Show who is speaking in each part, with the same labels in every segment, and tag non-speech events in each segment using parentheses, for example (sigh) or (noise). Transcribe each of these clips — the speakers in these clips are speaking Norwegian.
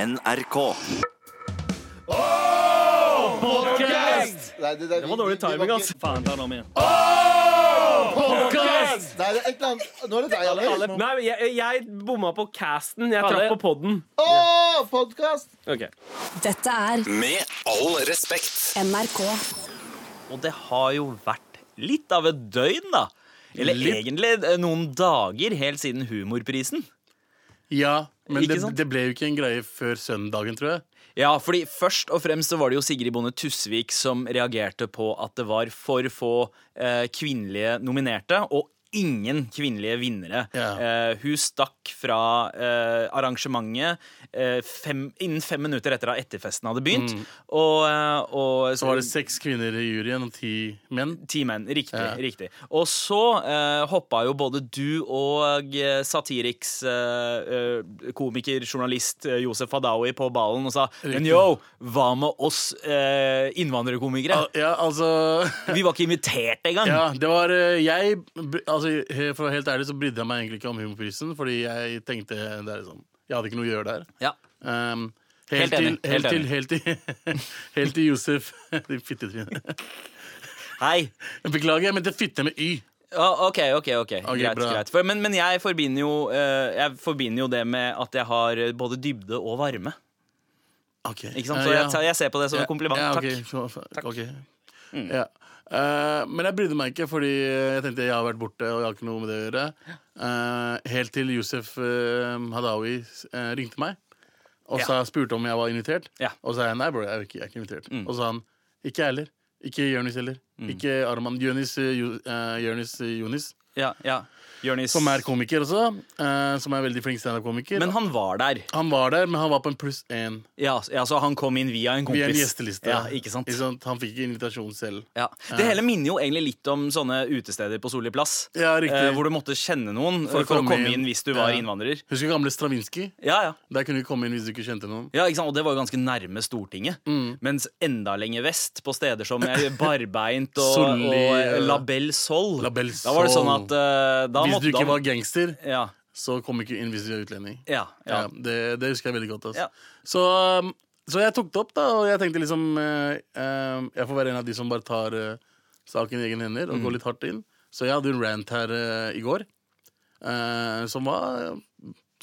Speaker 1: NRK.
Speaker 2: Nei, det, det,
Speaker 3: Det var dårlig timing, ass. Faen, ta den om igjen.
Speaker 2: Nei, det er et eller annet Nå er det deg, Alex.
Speaker 4: Nei, men jeg, jeg bomma på casten. Jeg traff
Speaker 3: det-
Speaker 4: på podden.
Speaker 2: Å, podkast!
Speaker 4: Ok.
Speaker 5: Dette er
Speaker 1: Med all respekt.
Speaker 5: NRK.
Speaker 6: Og det har jo vært litt av et døgn, da. Eller egentlig eh, noen dager helt siden humorprisen.
Speaker 7: Ja, men
Speaker 6: Ikke
Speaker 7: det,
Speaker 6: sant?
Speaker 7: det ble jo ikke en greie før søndagen, tror jeg.
Speaker 6: Ja, fordi først og fremst så var det jo Sigrid Bonde Tusvik som reagerte på at det var for få eh, kvinnelige nominerte, og ingen kvinnelige vinnere.
Speaker 7: Ja.
Speaker 6: Eh, hun stakk fra eh, arrangementet eh, fem, innen fem minutter etter at etterfesten hadde begynt. Og, eh, og
Speaker 7: Mm. Så var det seks kvinner i juryen og ti menn.
Speaker 6: Ti menn, riktig.
Speaker 7: Ja.
Speaker 6: riktig Og så eh, hoppa jo både du og eh, Satiriks eh, eh, komiker, journalist eh, Josef Hadaoui på ballen og sa Men
Speaker 7: Riktig.
Speaker 6: yo, hva med oss eh, innvandrerkomikere?
Speaker 7: Al Ah, ja, altså (laughs)
Speaker 6: Vi var ikke invitert engang!
Speaker 7: Ja, det var eh, Jeg br- altså, he- For å være helt ærlig så brydde jeg meg egentlig ikke om humorprisen, fordi jeg tenkte det er liksom Jeg hadde ikke noe å gjøre der.
Speaker 6: Ja.
Speaker 7: Um,
Speaker 6: Helt enig,
Speaker 7: helt, til, helt,
Speaker 6: helt
Speaker 7: til, helt til (laughs) Helt til Josef (laughs) Din fittetryne.
Speaker 6: Hei!
Speaker 7: Beklager, jeg mente fitte med y.
Speaker 6: Ja, ok, ok, ok, greit,
Speaker 7: bra.
Speaker 6: greit. For, men, men jeg forbinder jo eh, Jeg forbinder jo det med at jeg har både dybde og varme.
Speaker 7: Okay.
Speaker 6: Ikke sant?
Speaker 7: Eh,
Speaker 6: Så jeg,
Speaker 7: ja.
Speaker 6: tar- jeg ser på det som en kompliment.
Speaker 7: Ja,
Speaker 6: Takk.
Speaker 7: ok, så- så- ok. Ja. Eh, men jeg brydde meg ikke, fordi jeg tenkte jeg har vært borte og jeg har ikke noe med det å gjøre. Eh, helt til Yousef uh, Hadaoui eh, ringte meg og
Speaker 6: Ja.
Speaker 7: sa, spurte om jeg var invitert.
Speaker 6: Ja. Mm.
Speaker 7: Og så sa jeg nei, bro, jeg er ikke, jeg er ikke invitert. Og så sa han ikke jeg heller. Ikke Jonis heller. Ikke Arman. Jonis eh, Jo- eh, Jonis eh, Jonis,
Speaker 6: Ja, ja. Jonis.
Speaker 7: som er komiker også. eh, som er veldig flink standup-komiker.
Speaker 6: Men han var der.
Speaker 7: han var der, men han var på en pluss én.
Speaker 6: Ja, s- ja, så han kom inn via en kompis.
Speaker 7: Via en gjesteliste.
Speaker 6: Ja, ikke sant?
Speaker 7: Han fikk ikke invitasjon selv.
Speaker 6: Ja. Det hele minner jo egentlig litt om sånne utesteder på Solli plass.
Speaker 7: Ja, riktig.
Speaker 6: eh, hvor du måtte kjenne noen eh, for, å komme inn. hvis du var
Speaker 7: Ja.
Speaker 6: innvandrer.
Speaker 7: Husker du gamle Stravinskij?
Speaker 6: Ja, ja.
Speaker 7: Der kunne du komme inn hvis du ikke kjente noen.
Speaker 6: Ja, ikke sant? Og det var jo ganske nærme Stortinget.
Speaker 7: Mm.
Speaker 6: Mens enda lenger vest, på steder som
Speaker 7: (laughs)
Speaker 6: eh, Barbeint og,
Speaker 7: Solli,
Speaker 6: og eh,
Speaker 7: eh,
Speaker 6: La Belle Sol,
Speaker 7: La Belle
Speaker 6: da var det
Speaker 7: Sol.
Speaker 6: sånn at eh, da
Speaker 7: Hvis
Speaker 6: måtte
Speaker 7: du ikke
Speaker 6: da-
Speaker 7: var gangster,
Speaker 6: ja,
Speaker 7: så kom ikke inn hvis du var utlending.
Speaker 6: ja, ja.
Speaker 7: Ja, det, det husker jeg veldig godt. ass.
Speaker 6: Ja.
Speaker 7: Så, um, så jeg tok det opp, da, og jeg tenkte liksom eh, eh, Jeg får være en av de som bare tar eh, saken i egne
Speaker 6: Mm.
Speaker 7: hender og går litt hardt inn. Så jeg hadde en rant her eh, i går, eh, som var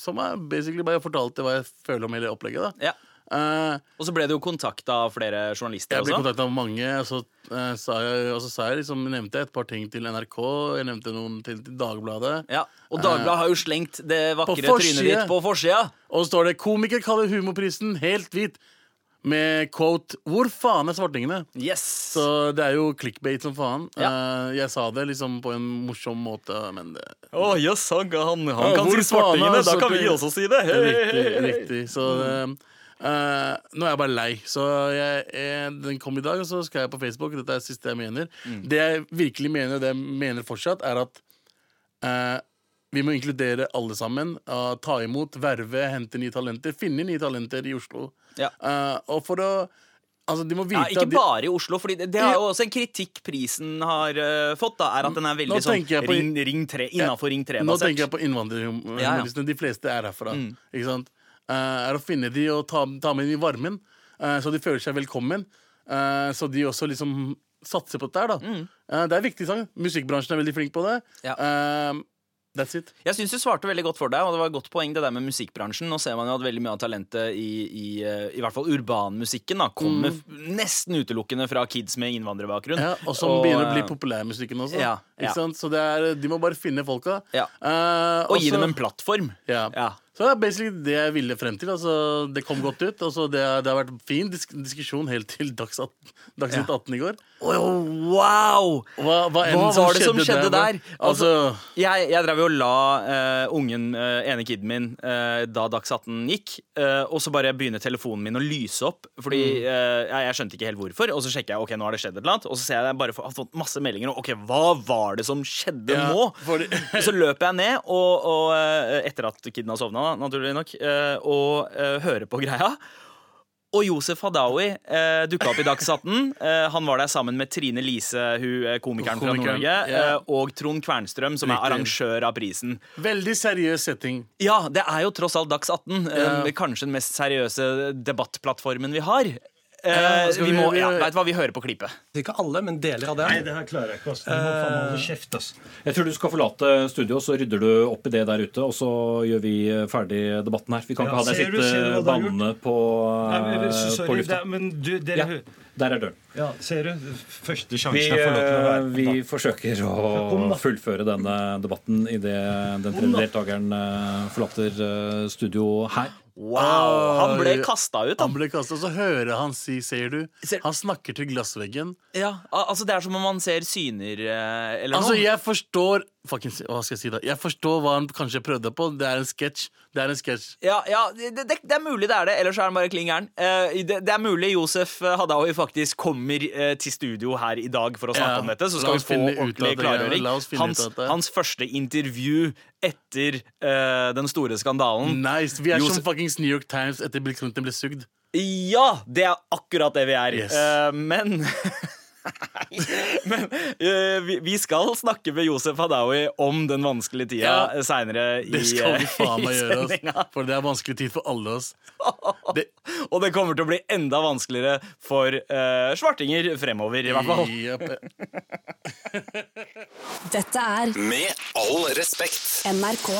Speaker 7: Som var basically bare jeg fortalte hva jeg føler om hele opplegget. da
Speaker 6: ja.
Speaker 7: Eh,
Speaker 6: Og så ble du jo kontakta av flere journalister
Speaker 7: Jeg ble
Speaker 6: også.
Speaker 7: kontakta av mange, og så, eh, sa jeg, og så sa jeg liksom, nevnte jeg et par ting til NRK. Jeg nevnte noen til, til Dagbladet.
Speaker 6: Ja. Og Dagbladet har jo slengt det vakre trynet
Speaker 7: forside.
Speaker 6: ditt på forsida.
Speaker 7: Og så står det 'Komiker kaller humorprisen helt hvit'. Med quote 'Hvor faen er svartingene?'
Speaker 6: Yes.
Speaker 7: Så det er jo clickbait som faen.
Speaker 6: Ja.
Speaker 7: Eh, jeg sa det liksom på en morsom måte, men det
Speaker 6: Å, jøss, han, han,
Speaker 7: Ja, hvor faen er svartingene?
Speaker 6: si det.
Speaker 7: Riktig. riktig Så eh, eh, nå er jeg bare lei. Så jeg, eh, den kom i dag, og så skal jeg på Facebook. Dette er det siste jeg mener.
Speaker 6: Mm.
Speaker 7: Det jeg virkelig mener, og det jeg mener fortsatt, er at eh, vi må inkludere alle sammen. eh, ta imot, verve, hente nye talenter. Finne nye talenter i Oslo.
Speaker 6: Ja.
Speaker 7: Eh, og for å Altså, de må vite
Speaker 6: Ja, ikke
Speaker 7: at de,
Speaker 6: bare i Oslo, for det, det er jo også en kritikk prisen har eh, fått. da, er At den er veldig
Speaker 7: Nå
Speaker 6: sånn
Speaker 7: tenker jeg på-
Speaker 6: ring, ring 3, innafor Ring
Speaker 7: Nå tenker
Speaker 6: 3-basert.
Speaker 7: jeg på innvandrerhumoristene.
Speaker 6: Ja, Mm. ja.
Speaker 7: De fleste er herfra. Ikke sant? Eh, er å finne de og ta, ta med dem i varmen, eh, så de føler seg velkommen. eh, så de også liksom satser på dette her, da. Eh, det er viktig sang. Musikkbransjen er veldig flink på det.
Speaker 6: Mm. Ja.
Speaker 7: Eh, that's it.
Speaker 6: Jeg syns du svarte veldig godt for deg, og det var et godt poeng det der med musikkbransjen. Nå ser man jo at veldig mye av talentet i, i, eh, i hvert fall urbanmusikken da, kommer f- nesten utelukkende fra kids med innvandrerbakgrunn.
Speaker 7: Mm. Ja, (laughs) og som begynner å bli populærmusikken også.
Speaker 6: eh, ja, ja.
Speaker 7: Ikke sant? Så det er, de må bare finne folka.
Speaker 6: Ja.
Speaker 7: Eh,
Speaker 6: Og gi
Speaker 7: så-
Speaker 6: dem en plattform.
Speaker 7: Ja.
Speaker 6: Ja.
Speaker 7: Så det er basically det jeg ville frem til. Altså, det kom godt ut. Altså, det, det har vært fin disk diskusjon helt til dags at- Dagsnytt 18 i går.
Speaker 6: wow!
Speaker 7: Hva, hva, enn
Speaker 6: Hva
Speaker 7: som
Speaker 6: var det som skjedde der?
Speaker 7: Altså,
Speaker 6: jeg, jeg drev jo og la eh, ungen, eh, ene kiden min, eh, da Dags 18 gikk. eh, og så bare begynner telefonen min å lyse opp, Fordi eh, jeg, jeg skjønte ikke helt hvorfor. Og så sjekker jeg, ok, nå har det skjedd et eller annet Og så ser jeg jeg bare har fått masse meldinger. Og ok, hva var det som skjedde
Speaker 7: Ja,
Speaker 6: nå?
Speaker 7: fordi- (laughs)
Speaker 6: så løper jeg ned, og, og eh, etter at kiden har sovna, naturlig nok, eh, og eh, hører på greia. Og Josef Hadaoui eh, dukka opp i Dagsnytt 18. Eh, han var der sammen med Trine Lise, hun eh, komikeren fra
Speaker 7: Komikeren,
Speaker 6: Nord-Norge,
Speaker 7: ja.
Speaker 6: eh, og Trond Kvernstrøm, som
Speaker 7: Riktig.
Speaker 6: er arrangør av prisen.
Speaker 7: Veldig seriøs setting.
Speaker 6: Ja, det er jo tross alt Dags 18.
Speaker 7: Ja.
Speaker 6: eh, Kanskje den mest seriøse debattplattformen vi har. Eh,
Speaker 5: Ja, skal
Speaker 6: vi
Speaker 5: vi-
Speaker 6: må,
Speaker 5: vi-
Speaker 6: ja, Veit hva, vi hører på klippet.
Speaker 5: Ikke alle, men deler av det.
Speaker 8: Nei, det her klarer jeg ikke. ass. Du må faen meg holde kjeft, ass. Jeg tror du skal forlate studio, så rydder du opp i det der ute, og så gjør vi eh, ferdig debatten her. Vi kan
Speaker 9: Ja,
Speaker 8: ikke ha deg
Speaker 6: Eh,
Speaker 9: ser du-
Speaker 8: sitte
Speaker 9: ser du hva du har gjort?
Speaker 8: bannende på,
Speaker 9: Nei, men,
Speaker 8: eh,
Speaker 9: sorry,
Speaker 8: på
Speaker 9: det
Speaker 8: lufta.
Speaker 9: er- men du, dere
Speaker 8: Ja,
Speaker 9: hø-
Speaker 8: der er døren.
Speaker 9: ja, ser du? Første sjansen
Speaker 8: Vi,
Speaker 9: jeg får lov til å
Speaker 8: eh,
Speaker 9: være
Speaker 8: vi forsøker
Speaker 9: Kom,
Speaker 8: å
Speaker 9: da.
Speaker 8: fullføre denne debatten idet den tredje deltakeren eh, forlater eh, studio her.
Speaker 6: Wow, Han ble
Speaker 7: Oi.
Speaker 6: kasta ut,
Speaker 7: Han
Speaker 6: han.
Speaker 7: ble kastet, og så hører han si, ser du
Speaker 6: Ser-
Speaker 7: Han snakker til glassveggen.
Speaker 6: Ja, al- altså Det er som om man ser syner eh, eller
Speaker 7: Altså,
Speaker 6: noe.
Speaker 7: jeg forstår fucking, Hva skal jeg si da? Jeg forstår hva han kanskje prøvde på. Det er en sketsj. Det er en sketsj.
Speaker 6: Ja, ja det, det, det er mulig det er det, ellers er han bare klin gæren. Eh, det, det er mulig Josef eh, Hadaoui faktisk kommer eh, til studio her i dag for å snakke
Speaker 7: Ja,
Speaker 6: om dette. Så
Speaker 7: la
Speaker 6: skal vi
Speaker 7: oss
Speaker 6: få
Speaker 7: finne ut av
Speaker 6: ordentlig
Speaker 7: det, ja.
Speaker 6: klargjøring.
Speaker 7: La oss finne
Speaker 6: Hans,
Speaker 7: ut av det.
Speaker 6: hans første intervju etter eh, den store skandalen.
Speaker 7: Nice. Vi er
Speaker 6: Josef-
Speaker 7: som fuckings New York Times etter Bill Clinton ble sugd.
Speaker 6: Ja, det er akkurat det vi er.
Speaker 7: Yes.
Speaker 6: Eh, men (laughs) Men eh, vi, vi skal snakke med Josef Hadaoui om den vanskelige tida
Speaker 7: Ja,
Speaker 6: ja, seinere i,
Speaker 7: Det skal vi (laughs) faen
Speaker 6: eh, (laughs)
Speaker 7: meg
Speaker 6: i
Speaker 7: gjøre,
Speaker 6: sendinga.
Speaker 7: ass. For det er vanskelig tid for alle (laughs) oss. Det,
Speaker 6: Og det kommer til å bli enda vanskeligere for eh, svartinger fremover, i hvert fall.
Speaker 7: Jep.
Speaker 10: Dette er
Speaker 1: Med all respekt.
Speaker 10: NRK.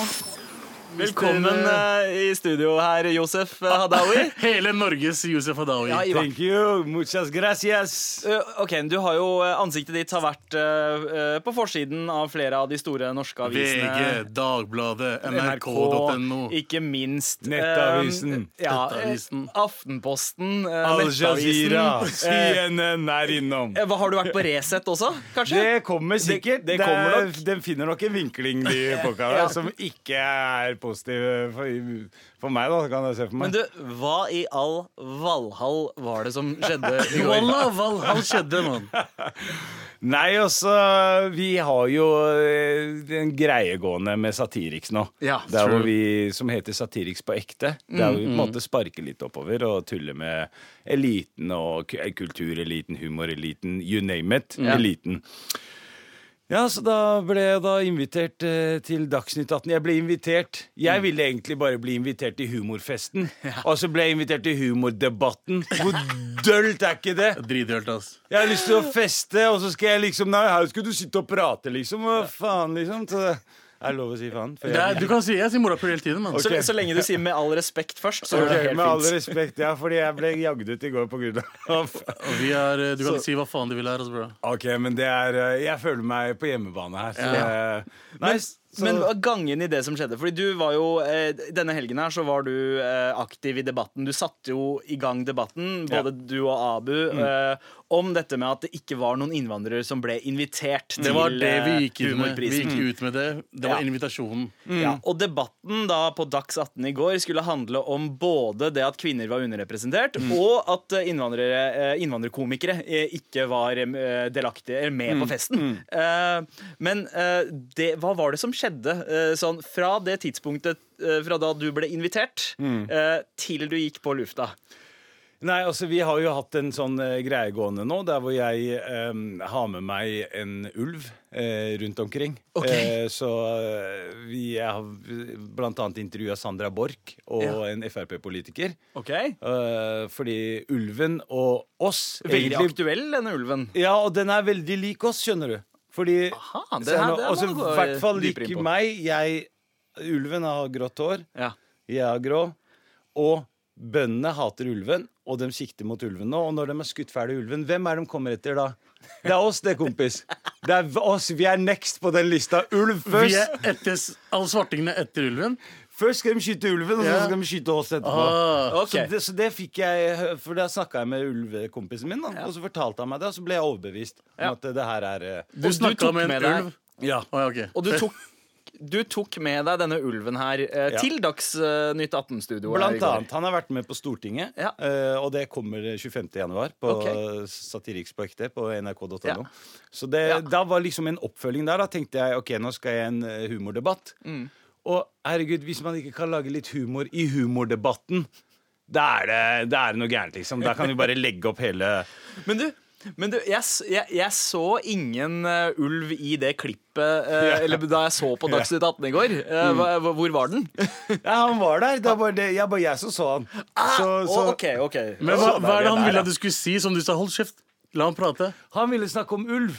Speaker 6: Velkommen eh, i studio her, Josef eh, Hadaoui.
Speaker 7: (laughs) Hele Norges Josef Hadaoui.
Speaker 9: Thank you, muchas gracias.
Speaker 6: Eh, ok, du har jo eh, Ansiktet ditt har vært eh, eh, på forsiden av flere av de store norske avisene.
Speaker 7: VG, Dagbladet, (laughs) nrk.no.
Speaker 6: Ikke minst. eh,
Speaker 9: Nettavisen.
Speaker 6: ja, eh,
Speaker 7: Nettavisen.
Speaker 6: Aftenposten. eh, Nettavisen. Eh,
Speaker 9: CNN er innom.
Speaker 6: hva, har du vært på Resett også, kanskje?
Speaker 9: Det kommer sikkert.
Speaker 6: det
Speaker 9: Det
Speaker 6: kommer
Speaker 9: er-
Speaker 6: nok.
Speaker 9: Den finner nok en vinkling,
Speaker 6: (laughs)
Speaker 9: de folka der, som ikke er positive for, for meg, da, kan jeg se for
Speaker 6: Men
Speaker 9: meg.
Speaker 6: du, hva i all Valhall var det som
Speaker 7: (laughs)
Speaker 6: skjedde i går?
Speaker 7: Wallah, Valhall skjedde, (laughs) mann.
Speaker 9: Nei, altså, vi har jo eh, en greie gående med Satiriks nå.
Speaker 7: Ja,
Speaker 9: der
Speaker 7: true.
Speaker 9: hvor vi, som heter Satiriks på ekte.
Speaker 6: Mm,
Speaker 9: Der hvor vi på en måte sparker litt oppover og tuller med eliten og ku- kultureliten, humoreliten, you name it. Eliten. Ja, så da ble jeg da invitert eh, til Dagsnytt 18. Jeg ble invitert. Jeg ville egentlig bare bli invitert til (laughs) humorfesten. Og så ble jeg invitert til humordebatten. Hvor dølt er ikke det?
Speaker 7: Dritdølt, ass.
Speaker 9: Jeg har lyst til å feste, og så skal jeg liksom Nei, her skal du sitte og prate, liksom. Hva faen, liksom? Så det er lov å si faen. For
Speaker 7: Det er,
Speaker 9: jeg,
Speaker 7: du kan si Jeg sier morapuler hele tiden, mann.
Speaker 6: Så, så lenge du sier 'med all respekt' først, så
Speaker 9: Ok,
Speaker 6: går det
Speaker 9: med all
Speaker 6: helt fint.
Speaker 9: respekt, ja, fordi jeg ble jagd ut i går på grunn av (laughs)
Speaker 7: Og vi er, eh, du kan si hva faen du vil her, ass, bro.
Speaker 9: OK, men det er eh, Jeg føler meg på hjemmebane her, så eh, Nei, så
Speaker 6: Men hva er gangen i det som skjedde Fordi du var jo, eh, denne helgen her Så var du eh, aktiv i debatten Du satte jo i gang debatten Både du og Abu
Speaker 7: Mm.
Speaker 6: eh, Om dette med at det ikke var noen innvandrere Som ble invitert
Speaker 7: Det var
Speaker 6: til
Speaker 7: det vi
Speaker 6: eh,
Speaker 7: gikk ut med. Vi
Speaker 6: humorprisen.
Speaker 7: gikk ut med det. Det var
Speaker 6: Ja.
Speaker 7: invitasjonen.
Speaker 9: Mm.
Speaker 6: Ja, og debatten da på Dags 18 i går skulle handle om både det at kvinner var underrepresentert,
Speaker 9: Mm.
Speaker 6: og at eh, innvandrere, eh, innvandrerkomikere eh, ikke var eh, delaktige eller med
Speaker 9: Mm.
Speaker 6: på festen. Eh, Men eh, det, hva var det som skjedde eh, sånn fra det tidspunktet eh, fra da du ble invitert,
Speaker 9: Mm.
Speaker 6: eh, til du gikk på lufta?
Speaker 9: Nei, altså Vi har jo hatt en sånn eh, greie gående nå, der hvor jeg eh, har med meg en ulv eh, rundt omkring.
Speaker 6: Ok.
Speaker 9: Eh, så eh, vi jeg har blant annet intervjua Sandra Borch og
Speaker 6: Ja.
Speaker 9: en Frp-politiker.
Speaker 6: Ok
Speaker 9: Eh, fordi ulven og oss
Speaker 6: Veldig
Speaker 9: egentlig-
Speaker 6: aktuell, denne ulven.
Speaker 9: Ja, og den er veldig lik oss, skjønner du. Fordi
Speaker 6: Aha, det
Speaker 9: Se
Speaker 6: her-
Speaker 9: nå,
Speaker 6: det må
Speaker 9: altså,
Speaker 6: du gå
Speaker 9: I hvert fall
Speaker 6: dypere inn på.
Speaker 9: like meg. Jeg, ulven har grått hår.
Speaker 6: Ja.
Speaker 9: Jeg er grå. Og bøndene hater ulven, og de sikter mot ulven nå. Og når de har skutt ferdig ulven, hvem er de kommer etter da? Det er oss, det, kompis. Det er oss, Vi er next på den lista. Ulv
Speaker 7: Vi
Speaker 9: først.
Speaker 7: er etter, s- alle svartingene er etter ulven.
Speaker 9: Først skal de skyte ulven, og så
Speaker 7: Ja.
Speaker 9: skal de skyte oss etterpå.
Speaker 7: Ah,
Speaker 6: Ok.
Speaker 9: Så, det, så det fikk jeg hø- For da snakka jeg med ulvekompisen min, da, og så fortalte han meg det, og så ble jeg overbevist om
Speaker 6: Ja.
Speaker 9: at det her er eh,
Speaker 7: du snakka
Speaker 6: tok
Speaker 7: med
Speaker 6: med
Speaker 7: en
Speaker 6: deg-
Speaker 7: ulv?
Speaker 9: Ja.
Speaker 7: Å, ja, ok.
Speaker 6: Og du tok, du tok med deg denne ulven her eh,
Speaker 9: Ja.
Speaker 6: til Dagsnytt 18-studioet. her i
Speaker 9: Blant
Speaker 6: går.
Speaker 9: annet. Han har vært med på Stortinget,
Speaker 6: Ja.
Speaker 9: eh, og det kommer 25. januar på
Speaker 6: Ok.
Speaker 9: okay. Satiriks på ekte på nrk.no.
Speaker 6: Ja.
Speaker 9: Så det,
Speaker 6: Ja.
Speaker 9: da var liksom en oppfølging der. Da tenkte jeg ok, nå skal jeg i en eh,
Speaker 6: Mm.
Speaker 9: humordebatt. Og herregud, hvis man ikke kan lage litt humor i humordebatten Da er det, da er det noe gærent, liksom. Da kan vi bare legge opp hele
Speaker 6: (laughs) Men du, men du jeg, s- jeg, jeg så ingen eh, ulv i det klippet eh, Eller da jeg så på Dagsnytt 18 i går. Eh, hva- hva- Hvor var den?
Speaker 9: Ja, han var der. Det var bare det, jeg, bare jeg som så han. Så, så,
Speaker 6: Ah, Å, ok, ok
Speaker 7: Men hva,
Speaker 9: Så der
Speaker 7: hva er det
Speaker 9: vi
Speaker 7: han
Speaker 9: er,
Speaker 7: ville
Speaker 9: ja.
Speaker 7: at du skulle si, som du sa? Hold kjeft. La han prate.
Speaker 9: Han ville snakke om ulv.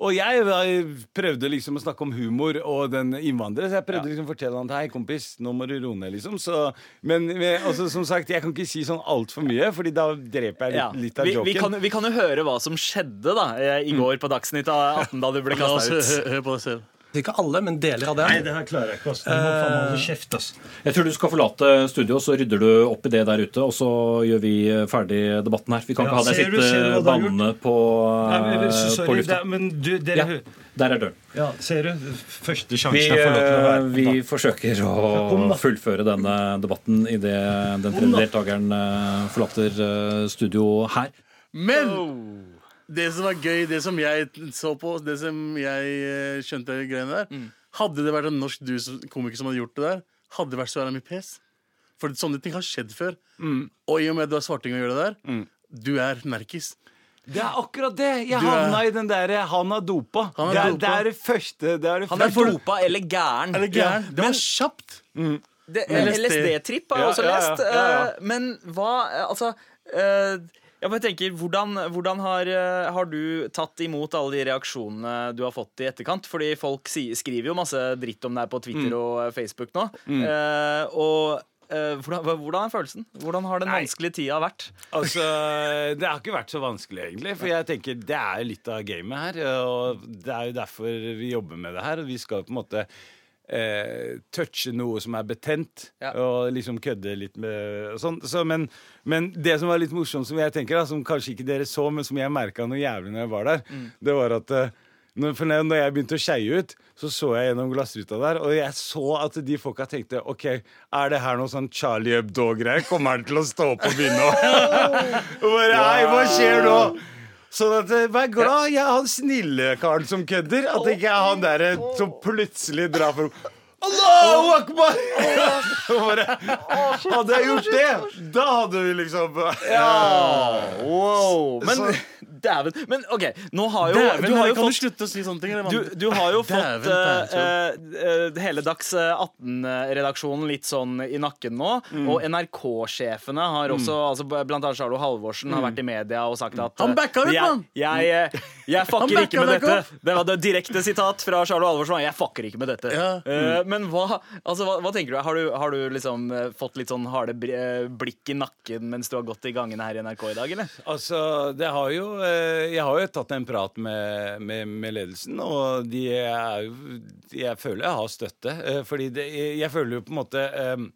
Speaker 9: Og jeg var- prøvde liksom å snakke om humor og den innvandreren, så jeg prøvde liksom å fortelle han at hei, kompis, nå må du roe ned, liksom. Så, men men også, som sagt, jeg kan ikke si sånn altfor mye, Fordi da dreper jeg litt,
Speaker 6: Ja.
Speaker 9: litt av
Speaker 6: vi,
Speaker 9: joken.
Speaker 6: vi, kan, vi kan jo høre hva som skjedde da eh, i går på Dagsnytt 18 da du ble
Speaker 7: La oss
Speaker 6: kasta ut.
Speaker 7: hø- høre på deg selv.
Speaker 6: eh,
Speaker 5: Ikke alle, men deler av dem.
Speaker 8: Nei, det her klarer jeg ikke. ass. Du må faen meg holde kjeft, ass. Jeg tror du skal forlate studio, så rydder du opp i det der ute, og så gjør vi eh, ferdig debatten her. Vi kan
Speaker 5: Ja,
Speaker 8: ikke ha deg
Speaker 5: ser du- ser du hva
Speaker 8: sitte
Speaker 5: du har gjort?
Speaker 8: bannende på,
Speaker 5: Nei, men,
Speaker 8: eh,
Speaker 5: så-
Speaker 8: på
Speaker 5: sorry, det,
Speaker 8: lufta.
Speaker 5: er- men du, dere
Speaker 8: Ja,
Speaker 5: hø-
Speaker 8: der er døren.
Speaker 5: ja, Ser du? Første
Speaker 8: Vi,
Speaker 5: sjansen jeg får lov til å være
Speaker 8: eh, vi forsøker
Speaker 5: Kom,
Speaker 8: å
Speaker 5: da.
Speaker 8: fullføre denne debatten idet den tredje deltakeren eh, forlater eh, studio her.
Speaker 7: Men
Speaker 6: Oh.
Speaker 7: det som var gøy, det som jeg så på, det som jeg eh, skjønte greiene der
Speaker 6: Mm.
Speaker 7: Hadde det vært en norsk du som- komiker som hadde gjort det der, hadde det vært så jævla mye pes. For sånne ting har skjedd før. Og i og med at du er svarting og gjør det der, du er nerkis.
Speaker 9: Det er akkurat det! Jeg
Speaker 7: Du er-
Speaker 9: havna i den derre 'han har dopa'.
Speaker 7: Han har
Speaker 9: det, er,
Speaker 7: dopa.
Speaker 9: det er det første. Det er det
Speaker 6: Han er
Speaker 9: første.
Speaker 6: dopa eller gæren.
Speaker 7: Er det gæren? Det var
Speaker 6: Men-
Speaker 7: kjapt!
Speaker 6: Det-
Speaker 7: Ja.
Speaker 6: LSD-tripp har jeg
Speaker 9: Ja,
Speaker 6: også
Speaker 9: ja, ja,
Speaker 6: lest.
Speaker 9: ja, ja.
Speaker 6: eh, Men hva eh, Altså eh, jeg bare tenker, hvordan, hvordan har, eh, har du tatt imot alle de reaksjonene du har fått i etterkant? Fordi folk si, skriver jo masse dritt om deg på Twitter
Speaker 9: Mm.
Speaker 6: og eh, Facebook nå. Eh, og eh, hvordan, hva- hvordan er følelsen? Hvordan har den vanskelige tida vært?
Speaker 9: Altså, det har ikke vært så vanskelig, egentlig. For jeg tenker, det er jo litt av gamet her. Og det er jo derfor vi jobber med det her. Og vi skal på en måte eh, touche noe som er betent,
Speaker 6: Ja.
Speaker 9: og liksom kødde litt med og sånn. Så, men, men det som var litt morsomt, som jeg tenker, da, som kanskje ikke dere så, men som jeg merka noe jævlig når jeg var der, det var at eh, når, for når når jeg begynte å skeie ut, så så jeg gjennom glassruta der, og jeg så at de folka tenkte OK, er det her noe sånn Charlie Hebdo-greie? Kommer han til å stå opp og begynne å og bare, Hei, hva skjer nå? Sånn at, eh, Vær glad jeg er han snille karen som kødder. At ikke jeg er han der eh, som plutselig drar for Allahu akbar! Og (laughs) bare, hadde jeg gjort det, da hadde vi liksom
Speaker 6: Wow! Men (laughs) dæven. Men OK, nå har jo,
Speaker 7: Dæven,
Speaker 6: du har
Speaker 7: Henrik,
Speaker 6: jo
Speaker 7: kan
Speaker 6: fått
Speaker 7: du slutte å si sånne ting? eller?
Speaker 6: du, du har
Speaker 7: (laughs)
Speaker 6: jo fått
Speaker 7: Dæven,
Speaker 6: eh, eh, hele Dags 18-redaksjonen litt sånn i nakken nå.
Speaker 7: Mm.
Speaker 6: Og NRK-sjefene har også, altså, blant annet Charlo Halvorsen, har vært i media og sagt at
Speaker 7: Mm.
Speaker 6: eh,
Speaker 7: Han backa ut,
Speaker 6: jeg-
Speaker 7: mann!
Speaker 6: Jeg, eh, jeg fucker
Speaker 7: (laughs) Han
Speaker 6: ikke med
Speaker 7: backa deg
Speaker 6: dette. Det var det direkte sitat fra Charlo Halvorsen. Jeg fucker ikke med dette.
Speaker 7: Ja. Mm.
Speaker 6: Eh, men hva, altså, hva, hva tenker du? Har du, har du liksom eh, fått litt sånn harde br- eh, blikk i nakken mens du har gått i gangene her i NRK i dag, eller?
Speaker 9: Altså, det har jo eh, Jeg har jo tatt en prat med, med, med ledelsen, og de er jo Jeg føler jeg har støtte. eh, Fordi det, jeg jeg føler jo på en måte eh,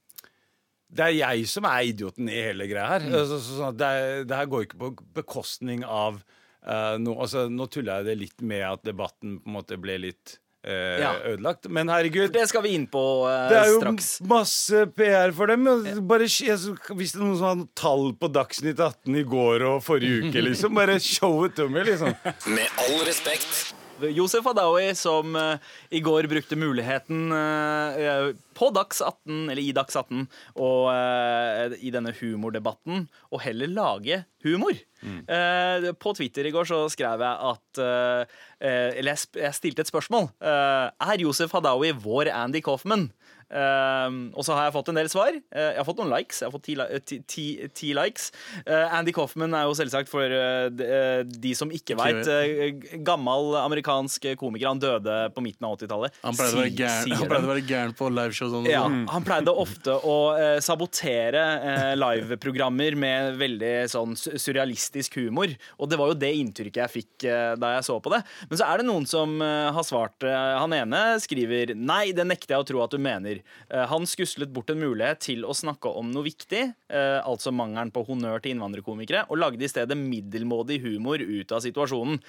Speaker 9: Det er jeg som er idioten i hele greia her. Altså, så, sånn at det, er- det her går ikke på bekostning av eh, noe altså, Nå tulla jeg det litt med at debatten på en måte ble litt eh,
Speaker 6: Ja.
Speaker 9: ødelagt, men herregud.
Speaker 6: Det skal vi inn på eh,
Speaker 9: Det er jo
Speaker 6: straks.
Speaker 9: masse PR for dem. og Bare, sk- altså, hvis det er noen som har tall på Dagsnytt 18 i går og forrige uke, liksom, bare show it to me, liksom.
Speaker 1: Med all respekt.
Speaker 6: Josef Adawi som eh, i går brukte muligheten eh, på Dags 18, eller i Dags 18, og eh, i denne humordebatten, å heller lage humor. Eh, på Twitter i går så skrev jeg at eh, eh, Eller jeg, sp jeg stilte et spørsmål. Eh, er Josef Hadaoui vår Andy Coffman? Ehm, og så har jeg fått en del svar. Eh, jeg har fått noen likes. Jeg har fått ti, li- eh, ti, ti, ti likes. Eh, Andy Coffman er jo selvsagt for eh, de, eh, de som ikke veit, eh, gammel amerikansk komiker. Han døde på midten av 80-tallet.
Speaker 7: Han pleide å være
Speaker 6: Si-
Speaker 7: gæren-
Speaker 6: sier
Speaker 7: han
Speaker 6: de.
Speaker 7: pleide å være gæren på liveshow. Sånn,
Speaker 6: Ja, han pleide ofte å eh, sabotere eh, liveprogrammer med veldig sånn su- surrealistisk humor. Og det var jo det inntrykket jeg fikk eh, da jeg så på det. Men så er det noen som eh, har svart. Eh, han ene skriver Nei, det nekter jeg å tro at du mener. Eh, han skuslet bort en mulighet til å snakke om noe viktig, eh, altså mangelen på honnør til innvandrerkomikere, og lagde i stedet middelmådig humor ut av situasjonen.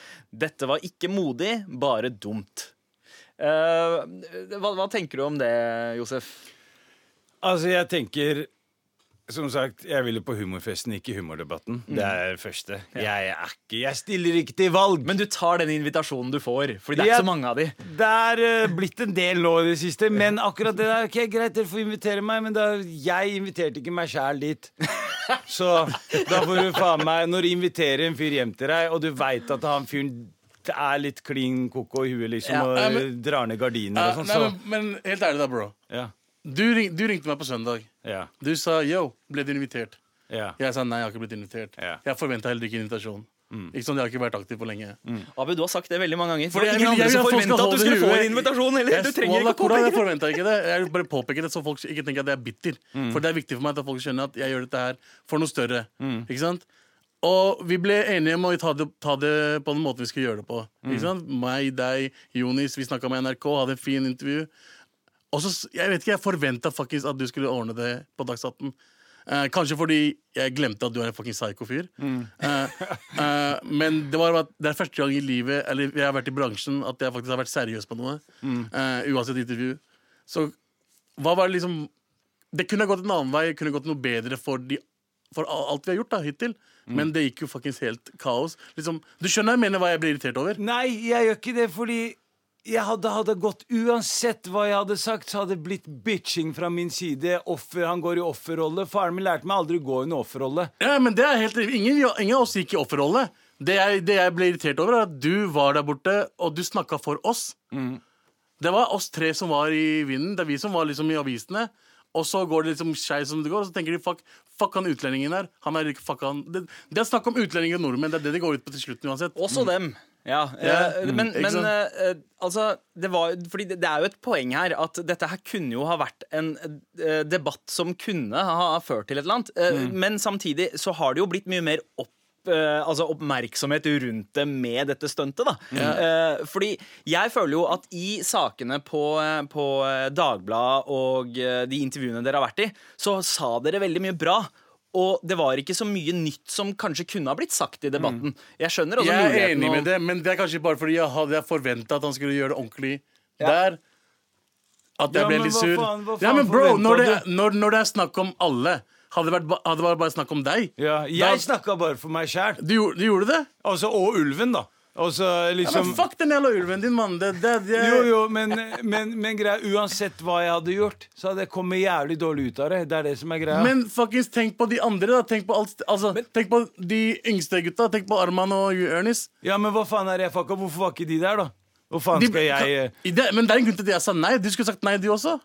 Speaker 6: Dette var ikke modig, bare dumt. Eh, hva, hva tenker du om det, Josef?
Speaker 9: Altså, jeg tenker som sagt, jeg ville på humorfesten, ikke humordebatten. Det er det første. Jeg er ikke Jeg stiller ikke til valg.
Speaker 6: Men du tar den invitasjonen du får, Fordi det er
Speaker 9: Ja.
Speaker 6: ikke så mange av de.
Speaker 9: det er eh, blitt en del nå i det siste, men akkurat det der Ok, greit, dere får invitere meg, men da, jeg inviterte ikke meg sjæl (laughs) dit. Så da får du faen meg Når du inviterer en fyr hjem til deg, og du veit at han fyren er litt klin koko i huet, liksom,
Speaker 7: Ja,
Speaker 9: og
Speaker 7: nei, men-
Speaker 9: drar ned gardiner
Speaker 7: Eh,
Speaker 9: og sånn,
Speaker 7: nei,
Speaker 9: så
Speaker 7: men, men helt ærlig, da, bro.
Speaker 9: Ja.
Speaker 7: Du, ring, du ringte meg på søndag.
Speaker 9: Ja.
Speaker 7: Du sa yo, ble du invitert?
Speaker 9: Ja.
Speaker 7: Jeg sa nei, jeg har ikke blitt invitert.
Speaker 9: Ja.
Speaker 7: Jeg forventa heller ikke invitasjon. Ikke sånn, Jeg har ikke vært aktiv på lenge.
Speaker 6: Abu, du har sagt det veldig mange ganger.
Speaker 7: Fordi
Speaker 6: Mm. Fordi
Speaker 7: jeg
Speaker 6: ingen
Speaker 7: vil- jeg
Speaker 6: andre
Speaker 7: vil
Speaker 6: som
Speaker 7: at
Speaker 6: forventet at
Speaker 7: folk skal
Speaker 6: du
Speaker 7: holde
Speaker 6: skulle få
Speaker 7: huet
Speaker 6: en
Speaker 7: i-
Speaker 6: invitasjon heller. Du trenger
Speaker 7: Wallah,
Speaker 6: ikke å
Speaker 7: Koran, jeg
Speaker 6: påpeke det.
Speaker 7: forventet ikke det. Jeg bare påpeker det så folk ikke tenker at jeg er bitter.
Speaker 6: Mm.
Speaker 7: For det er viktig for meg at folk skjønner at jeg gjør dette her for noe større.
Speaker 6: Mm.
Speaker 7: Ikke sant? Og vi ble enige om å ta det, ta det på den måten vi skulle gjøre det på.
Speaker 6: Mm.
Speaker 7: Ikke sant? Meg, deg, Jonis. Vi snakka med NRK, hadde en fin intervju. Og så, s- Jeg vet ikke, jeg forventa faktisk at du skulle ordne det på Dagsnytt 18. Eh, kanskje fordi jeg glemte at du er en fucking psyko-fyr. Eh, eh, men det var at det er første gang i livet Eller jeg har vært i bransjen at jeg faktisk har vært seriøs på noe. Eh, uansett intervju. Så hva var det liksom Det kunne ha gått en annen vei, kunne gått noe bedre for, de, for al- alt vi har gjort da hittil. Men det gikk jo fuckings helt kaos. Liksom, du skjønner jeg mener hva jeg blir irritert over?
Speaker 9: Nei, jeg gjør ikke det fordi jeg hadde, hadde gått Uansett hva jeg hadde sagt, så hadde det blitt bitching fra min side. Offer, Han går i offerrolle. Faren min lærte meg aldri å gå i en offerrolle.
Speaker 7: Ja, men det er helt Ingen, ingen av oss gikk i offerrolle. Det jeg, det jeg ble irritert over, er at du var der borte, og du snakka for oss. Det var oss tre som var i vinden. Det er vi som var liksom i avisene. Og så går det liksom skeis som det går, og så tenker de fuck, fuck han utlendingen her. Han er ikke fuck han Det, det er snakk om utlendinger og nordmenn. Det er det det går ut på til slutt uansett.
Speaker 6: Også dem. Ja,
Speaker 7: Ja,
Speaker 6: eh,
Speaker 7: mm,
Speaker 6: men,
Speaker 7: ikke
Speaker 6: men
Speaker 7: sant?
Speaker 6: eh, eh, altså det, var, fordi det, det er jo et poeng her at dette her kunne jo ha vært en eh, debatt som kunne ha ført til et eller annet. Eh,
Speaker 7: Mm.
Speaker 6: Men samtidig så har det jo blitt mye mer opp, eh, altså oppmerksomhet rundt det med dette stuntet. da. Eh, fordi jeg føler jo at i sakene på, eh, på eh, Dagbladet og eh, de intervjuene dere har vært i, så sa dere veldig mye bra. Og det var ikke så mye nytt som kanskje kunne ha blitt sagt i debatten.
Speaker 9: Mm.
Speaker 6: Jeg skjønner også
Speaker 7: Jeg er
Speaker 6: muligheten
Speaker 7: enig
Speaker 6: å-
Speaker 7: med det, men det er kanskje bare fordi jeg hadde jeg forventa at han skulle gjøre det ordentlig der. At jeg
Speaker 9: Ja,
Speaker 7: ble
Speaker 9: men
Speaker 7: litt
Speaker 9: hva
Speaker 7: sur.
Speaker 9: faen- hva
Speaker 7: ja,
Speaker 9: faen
Speaker 7: men bro, når det,
Speaker 9: forventet
Speaker 7: når, når det er snakk om alle Hadde det vært ba- hadde det vært bare snakk om deg
Speaker 9: Ja,
Speaker 7: da-
Speaker 9: jeg snakka bare for meg sjæl.
Speaker 7: du, gjorde- du gjorde det?
Speaker 9: Altså, og ulven, da. Altså,
Speaker 7: Ja,
Speaker 9: liksom
Speaker 7: men fuck den jævla ulven din, mann. Det, det, det,
Speaker 9: Jo, jo, men, men, men greia, uansett hva jeg hadde gjort, så hadde jeg kommet jævlig dårlig ut av det. Det er det som er greia.
Speaker 7: Men fuckings tenk på de andre, da. Tenk på, alt, altså, tenk på de yngste gutta. Tenk på Arman og Jonis.
Speaker 9: ja, men hva faen er det jeg fucka? Hvorfor var ikke de der, da? Hvor faen
Speaker 7: De-
Speaker 9: skal jeg eh,
Speaker 7: I det- Men det er en grunn til at jeg sa nei. Du skulle sagt nei, du også.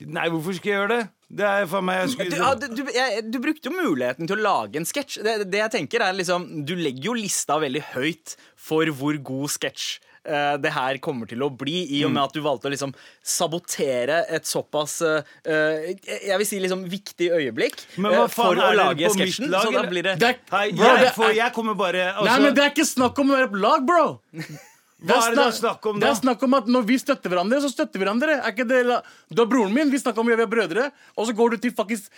Speaker 9: Nei, hvorfor skal jeg gjøre det? Det er faen meg jeg
Speaker 6: Du,
Speaker 9: skulle...
Speaker 6: ja, du, du, jeg, du brukte jo muligheten til å lage en sketsj. Det, det jeg tenker er liksom Du legger jo lista veldig høyt for hvor god sketsj eh, det her kommer til å bli, i og med
Speaker 9: Mm.
Speaker 6: at du valgte å liksom sabotere et såpass eh, eh, Jeg vil si liksom viktig øyeblikk
Speaker 9: Men hva
Speaker 6: eh,
Speaker 9: faen
Speaker 6: for å
Speaker 9: er det
Speaker 6: lage
Speaker 9: på mitt
Speaker 6: sketsjen.
Speaker 9: lag,
Speaker 6: Så da
Speaker 9: eller?
Speaker 6: blir det
Speaker 7: Det er,
Speaker 9: Hei,
Speaker 7: bro,
Speaker 9: jeg,
Speaker 7: det
Speaker 9: for
Speaker 7: er-
Speaker 9: jeg kommer bare altså,
Speaker 7: Nei, men det er ikke snakk om å være på lag,
Speaker 9: (laughs)
Speaker 7: bro! Det
Speaker 9: Hva er det det er snakk om
Speaker 7: det
Speaker 9: da?
Speaker 7: er snakk om at Når vi støtter hverandre, så støtter vi hverandre. Er ikke det la- Du er broren min, vi snakker om at vi er brødre. Og så går du til fuckings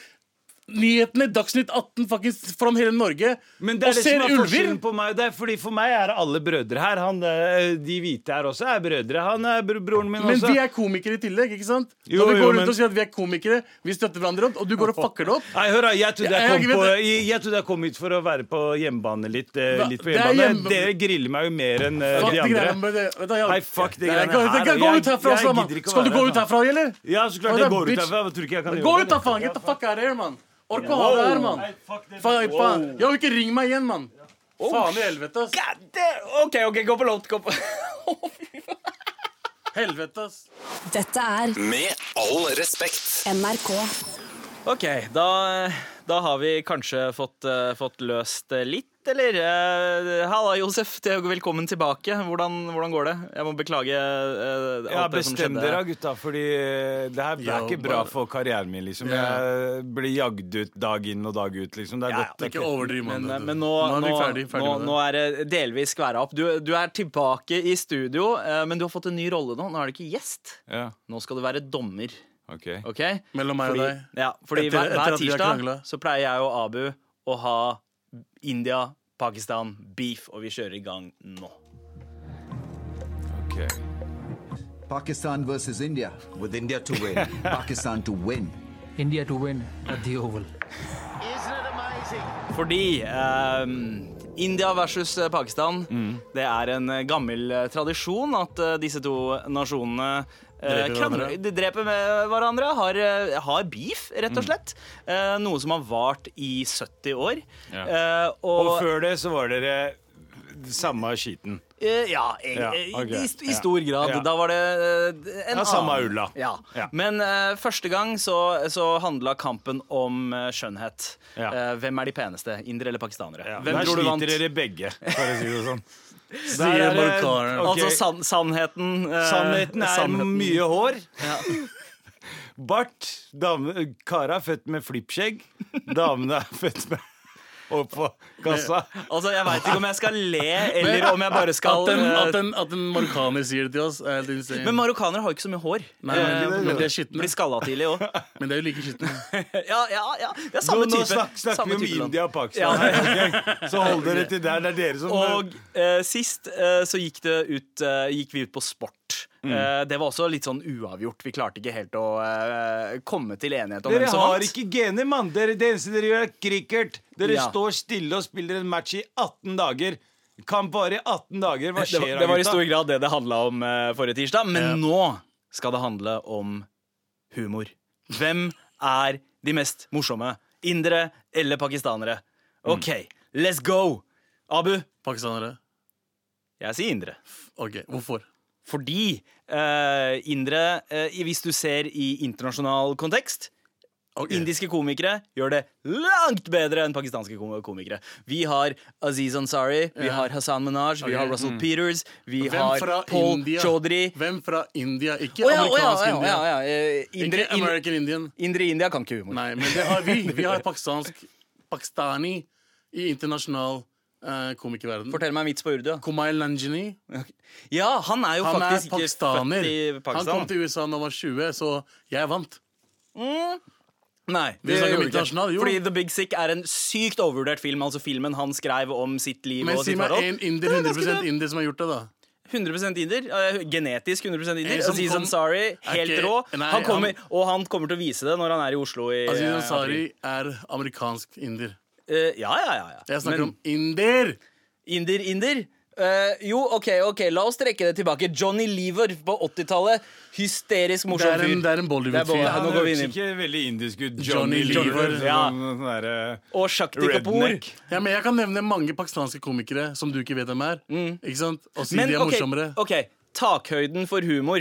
Speaker 7: nyhetene, Dagsnytt 18, fuckings from hele Norge,
Speaker 9: Men det er
Speaker 7: og
Speaker 9: det
Speaker 7: ser
Speaker 9: som er
Speaker 7: ulver.
Speaker 9: forskjellen på meg og deg. Fordi For meg er alle brødre her. Han, eh, de hvite her også er brødre. Han er bro broren min
Speaker 7: Men
Speaker 9: også.
Speaker 7: vi er komikere i tillegg, ikke sant?
Speaker 9: altså- Jo,
Speaker 7: Når vi
Speaker 9: jo,
Speaker 7: går rundt
Speaker 9: men-
Speaker 7: og sier at vi er komikere, vi støtter hverandre, og du går og fucker det
Speaker 9: (laughs)
Speaker 7: opp.
Speaker 9: Nei, hør da, jeg trodde jeg,
Speaker 7: Jeg- jeg
Speaker 9: kom på,
Speaker 7: vet
Speaker 9: jeg, jeg trodde jeg kom hit for å være på hjemmebane litt. eh,
Speaker 7: Hva-
Speaker 9: litt på
Speaker 7: det er
Speaker 9: hjemmebane.
Speaker 7: hjemme-
Speaker 9: Dere griller meg jo mer enn eh,
Speaker 7: Fuck
Speaker 9: de
Speaker 7: de greiene
Speaker 9: andre.
Speaker 7: med det. Vet du, jeg-
Speaker 9: Nei, fuck
Speaker 7: Nei,
Speaker 9: de
Speaker 7: jeg
Speaker 9: greiene
Speaker 7: kan-
Speaker 9: her,
Speaker 7: jeg kan
Speaker 9: og
Speaker 7: gå
Speaker 9: jeg-
Speaker 7: ut herfra
Speaker 9: jeg
Speaker 7: også, mann.
Speaker 9: gidder ikke å
Speaker 7: Skal du
Speaker 9: være
Speaker 7: gå
Speaker 9: her,
Speaker 7: ut herfra, eller?
Speaker 9: Ja,
Speaker 7: Hva
Speaker 9: så klart
Speaker 7: er
Speaker 9: jeg
Speaker 7: det,
Speaker 9: går ut
Speaker 7: bitch?
Speaker 9: herfra. Jeg tror ikke jeg kan
Speaker 7: Gå
Speaker 9: gjøre
Speaker 7: ut da, faen! Get the fuck out of here, mann! Orker å ha deg her, mann! Faen, faen.
Speaker 9: Wow.
Speaker 7: Ja, ikke ring meg igjen, mann!
Speaker 6: Oh,
Speaker 7: Faen i helvete, ass.
Speaker 6: Ja, det, OK, ok, gå på låt. Gå på. (laughs)
Speaker 7: Helvete, ass.
Speaker 10: Dette er
Speaker 1: Med all respekt.
Speaker 10: NRK.
Speaker 6: Ok, da, da har vi kanskje fått, eh, fått løst eh, litt, eller? Eh, Halla, Josef. det er jo Velkommen tilbake. Hvordan, hvordan går det? Jeg må beklage eh, alt
Speaker 9: Ja,
Speaker 6: det som
Speaker 9: Bestem
Speaker 6: skjedde.
Speaker 9: dere, gutta, fordi eh, det her er
Speaker 7: Ja,
Speaker 9: ikke bra
Speaker 7: bare-
Speaker 9: for karrieren min. liksom
Speaker 7: Ja.
Speaker 9: Jeg blir jagd ut dag inn og dag ut. liksom Det er
Speaker 6: Ja,
Speaker 9: godt.
Speaker 7: Ikke overdriv, mann.
Speaker 6: Men, eh,
Speaker 7: vet du.
Speaker 6: men nå,
Speaker 7: er
Speaker 6: nå,
Speaker 7: vi ferdig, ferdig
Speaker 6: nå,
Speaker 7: med det.
Speaker 6: nå er det delvis skværa opp. Du, du er tilbake i studio, eh, men du har fått en ny rolle nå. Nå er du ikke gjest.
Speaker 9: Ja,
Speaker 6: Nå skal du være dommer.
Speaker 9: ok.
Speaker 6: ok?
Speaker 7: Mellom meg og
Speaker 6: fordi,
Speaker 7: deg.
Speaker 6: Ja, fordi
Speaker 7: Etter-
Speaker 6: hver,
Speaker 7: etter
Speaker 6: hver
Speaker 7: at vi
Speaker 6: tirsdag
Speaker 7: har kranglet.
Speaker 6: så pleier jeg og Abu å ha India, Pakistan, beef, og vi kjører i gang nå.
Speaker 9: ok.
Speaker 11: (laughs) Pakistan versus India. With India to win. Pakistan to win.
Speaker 10: India to win at the Oval.
Speaker 6: Fordi ehm, India versus eh, Pakistan,
Speaker 7: Mm.
Speaker 6: det er en eh, gammel eh, tradisjon at eh, disse to nasjonene eh,
Speaker 7: Dreper
Speaker 6: krangler-
Speaker 7: hverandre.
Speaker 6: de dreper med hverandre, har, eh, har beef, rett
Speaker 7: Mm.
Speaker 6: og slett. Eh, noe som har vart i 70 år. Eh, og,
Speaker 9: Og før det så var dere samme skiten.
Speaker 6: eh, ja, eh,
Speaker 9: Ja,
Speaker 6: eh,
Speaker 9: ok.
Speaker 6: i, st- i
Speaker 9: Ja.
Speaker 6: stor grad.
Speaker 9: Ja.
Speaker 6: Da var det eh, en
Speaker 9: Ja, samme
Speaker 6: annen-
Speaker 9: ulla.
Speaker 6: Ja.
Speaker 9: Ja.
Speaker 6: Men eh, første gang så, så handla kampen om eh, skjønnhet.
Speaker 9: Ja.
Speaker 6: Eh, hvem er de peneste? Indere eller pakistanere? Hvem
Speaker 9: Der
Speaker 6: tror du vant?
Speaker 9: sliter dere begge, for å si det sånn.
Speaker 7: Sier
Speaker 9: Der er det-
Speaker 7: marokkaneren.
Speaker 9: Ok.
Speaker 6: Altså sann- sannheten eh,
Speaker 9: Sannheten er
Speaker 6: sannheten.
Speaker 9: mye hår. (laughs) Bart. Dame, kara er født med flippskjegg. Damene er født med Og på kassa.
Speaker 6: Altså, Jeg veit ikke om jeg skal
Speaker 9: (laughs)
Speaker 6: le, eller om jeg bare skal
Speaker 7: At en,
Speaker 6: eh,
Speaker 7: at en, at en marokkaner sier det til oss, er helt insane.
Speaker 6: Men marokkanere har jo ikke så mye hår.
Speaker 7: Nei, men, men de er skitne.
Speaker 6: Blir skalla tidlig òg.
Speaker 9: (laughs)
Speaker 7: Men de er jo like skitne.
Speaker 6: Ja, ja, ja. Det er
Speaker 9: Nå,
Speaker 6: samme
Speaker 9: nå
Speaker 6: type.
Speaker 9: snak, snakker
Speaker 6: samme
Speaker 9: vi om
Speaker 6: type land.
Speaker 9: India og Pakistan. her, ok? Så hold dere til der. Det er dere som
Speaker 6: Og eh, sist eh, så gikk, det ut, eh, gikk vi ut på sport.
Speaker 9: Mm.
Speaker 6: Eh, det var også litt sånn uavgjort. Vi klarte ikke helt å eh, komme til enighet om
Speaker 9: Dere
Speaker 6: hvem som
Speaker 9: har
Speaker 6: vant.
Speaker 9: ikke gener, mann. Dere, det eneste dere gjør, er cricket. Dere
Speaker 6: Ja.
Speaker 9: står stille og spiller en match i 18 dager. Kamp varer i 18 dager. Hva
Speaker 6: det,
Speaker 9: skjer
Speaker 6: var,
Speaker 9: da,
Speaker 6: det var i
Speaker 9: gutta?
Speaker 6: stor grad det det handla om eh, forrige tirsdag, men nå skal det handle om humor. Hvem er de mest morsomme? Indere eller pakistanere?
Speaker 9: Mm.
Speaker 6: OK, let's go! Abu,
Speaker 7: Pakistanere.
Speaker 6: jeg sier indere.
Speaker 7: Ok, Hvorfor?
Speaker 6: Fordi eh, indere, eh, i- hvis du ser i internasjonal kontekst
Speaker 7: Ok.
Speaker 6: Indiske komikere gjør det langt bedre enn pakistanske kom- komikere. Vi har Aziz Ansari, vi
Speaker 7: Ja.
Speaker 6: har Hassan Minaj, vi
Speaker 7: Ok. Mm.
Speaker 6: har Russell Peters, vi
Speaker 7: Hvem fra
Speaker 6: har Paul
Speaker 7: India?
Speaker 6: Chaudhry.
Speaker 7: Hvem fra India? Ikke
Speaker 6: Å ja, å ja, å ja,
Speaker 7: amerikansk
Speaker 6: å ja,
Speaker 7: India.
Speaker 6: å ja. Eh, Indre,
Speaker 7: Ikke American Indian.
Speaker 6: indre India kan ikke humor.
Speaker 7: Nei, men det har vi. Vi har pakistansk pakistani i internasjonal eh, komikerverden.
Speaker 6: Fortell meg en vits på urdu. da.
Speaker 7: Kumail Nanjini.
Speaker 6: Ja, han er jo
Speaker 7: Han er
Speaker 6: faktisk ikke
Speaker 7: pakistaner.
Speaker 6: født i
Speaker 7: Han kom
Speaker 6: Pakistan.
Speaker 7: til USA da han var 20, så jeg vant.
Speaker 6: Nei,
Speaker 7: Vi snakker om
Speaker 6: gjorde ikke.
Speaker 7: internasjonal, jo.
Speaker 6: Fordi The Big Sick er en sykt overvurdert film. Altså filmen han skrev om sitt liv
Speaker 7: Men
Speaker 6: og
Speaker 7: si
Speaker 6: sitt
Speaker 7: meg
Speaker 6: forhold.
Speaker 7: en inder, 100 indier som har gjort det, da.
Speaker 6: 100 inder. eh, Genetisk 100
Speaker 7: En
Speaker 6: inder.
Speaker 7: som
Speaker 6: Aziz
Speaker 7: kom-
Speaker 6: Ansari,
Speaker 7: Er
Speaker 6: helt
Speaker 7: ikke-
Speaker 6: rå.
Speaker 7: Nei,
Speaker 6: Han kommer,
Speaker 7: han-
Speaker 6: og han kommer til å vise det når han er i Oslo i
Speaker 7: Aziz
Speaker 6: eh,
Speaker 7: Ansari
Speaker 6: april.
Speaker 7: er amerikansk inder.
Speaker 6: Eh, Ja, ja, ja. ja.
Speaker 7: Jeg snakker om inder!
Speaker 6: Inder, inder. Eh, jo, OK, ok, la oss trekke det tilbake. Johnny Lever på 80-tallet. Hysterisk
Speaker 7: Det
Speaker 6: morsom
Speaker 7: er
Speaker 6: fyr.
Speaker 7: en, det er en
Speaker 6: Det er
Speaker 7: Bollywood-fyr.
Speaker 6: Bollywood.
Speaker 9: Han
Speaker 6: Nå går vi
Speaker 9: hørtes
Speaker 6: inn i-
Speaker 9: ikke veldig indisk ut.
Speaker 7: Johnny
Speaker 9: Johnny,
Speaker 7: Lever.
Speaker 9: Lever.
Speaker 6: Ja.
Speaker 9: Sånn, sånn derre-
Speaker 6: Og Shakti Kapoor.
Speaker 9: Redneck.
Speaker 7: Ja, men jeg kan nevne mange pakistanske komikere som du ikke vet hvem er. Ikke sant? Og si
Speaker 6: Mm. Men
Speaker 7: de er
Speaker 6: OK,
Speaker 7: morsommere.
Speaker 6: ok, takhøyden for humor.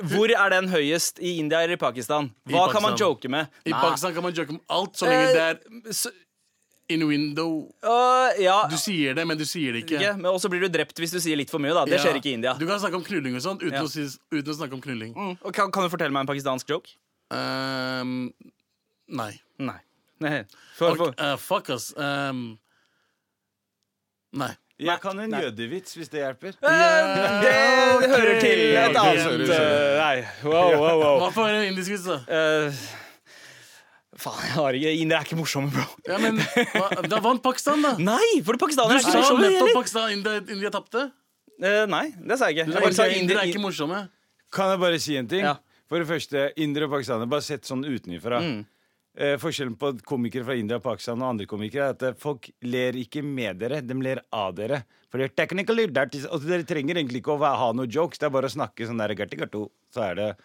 Speaker 6: Hvor er den høyest? I India eller i Pakistan? Hva kan man
Speaker 7: Pakistan.
Speaker 6: joke med?
Speaker 7: I
Speaker 6: Nei.
Speaker 7: Pakistan kan man joke om alt så lenge
Speaker 6: Eh,
Speaker 7: det er in window.
Speaker 6: Øh, ja,
Speaker 7: Du sier det, men du sier det ikke.
Speaker 6: ikke, men også blir du drept hvis du sier litt for mye. da Det skjer ikke i India.
Speaker 7: Du kan snakke om knulling og sånt uten,
Speaker 6: Ja.
Speaker 7: å, si, uten å snakke om knulling.
Speaker 6: Mm, og kan, kan du fortelle meg en pakistansk joke?
Speaker 7: Ehm, nei.
Speaker 6: Nei. Nei. For,
Speaker 7: Ok,
Speaker 6: for.
Speaker 7: eh, fuck us. Ehm, nei.
Speaker 9: Jeg kan en jødevits, hvis det hjelper.
Speaker 6: Eh, det, det hører til
Speaker 9: Ok,
Speaker 6: et
Speaker 9: sorry,
Speaker 6: annet
Speaker 9: sorry.
Speaker 6: eh, Nei, wow, wow, wow.
Speaker 7: Hva for en indisk vits, da?
Speaker 6: Eh, faen, jeg har ikke India er ikke morsomme, bro.
Speaker 7: Ja, men, hva, da vant Pakistan, da.
Speaker 6: Nei, for det
Speaker 7: Du
Speaker 6: pakistanere er ikke
Speaker 7: sa
Speaker 6: morsomme.
Speaker 7: nettopp
Speaker 6: heller.
Speaker 7: Pakistan India, India tapte.
Speaker 6: Eh, nei, det sa jeg ikke. Jeg bare sa
Speaker 7: Indere er ikke
Speaker 6: India.
Speaker 7: morsomme.
Speaker 9: Kan jeg bare si en ting?
Speaker 6: Ja.
Speaker 9: For det første, indere og pakistanere, bare sett sånn utenfra.
Speaker 6: Mm.
Speaker 9: Eh, forskjellen på komikere fra India og Pakistan og andre komikere er at eh, folk ler ikke med dere, de ler av dere. For det er technically that is, altså, Dere trenger egentlig ikke å være- ha noen jokes, det er bare å snakke sånn der gerti gerto, så er det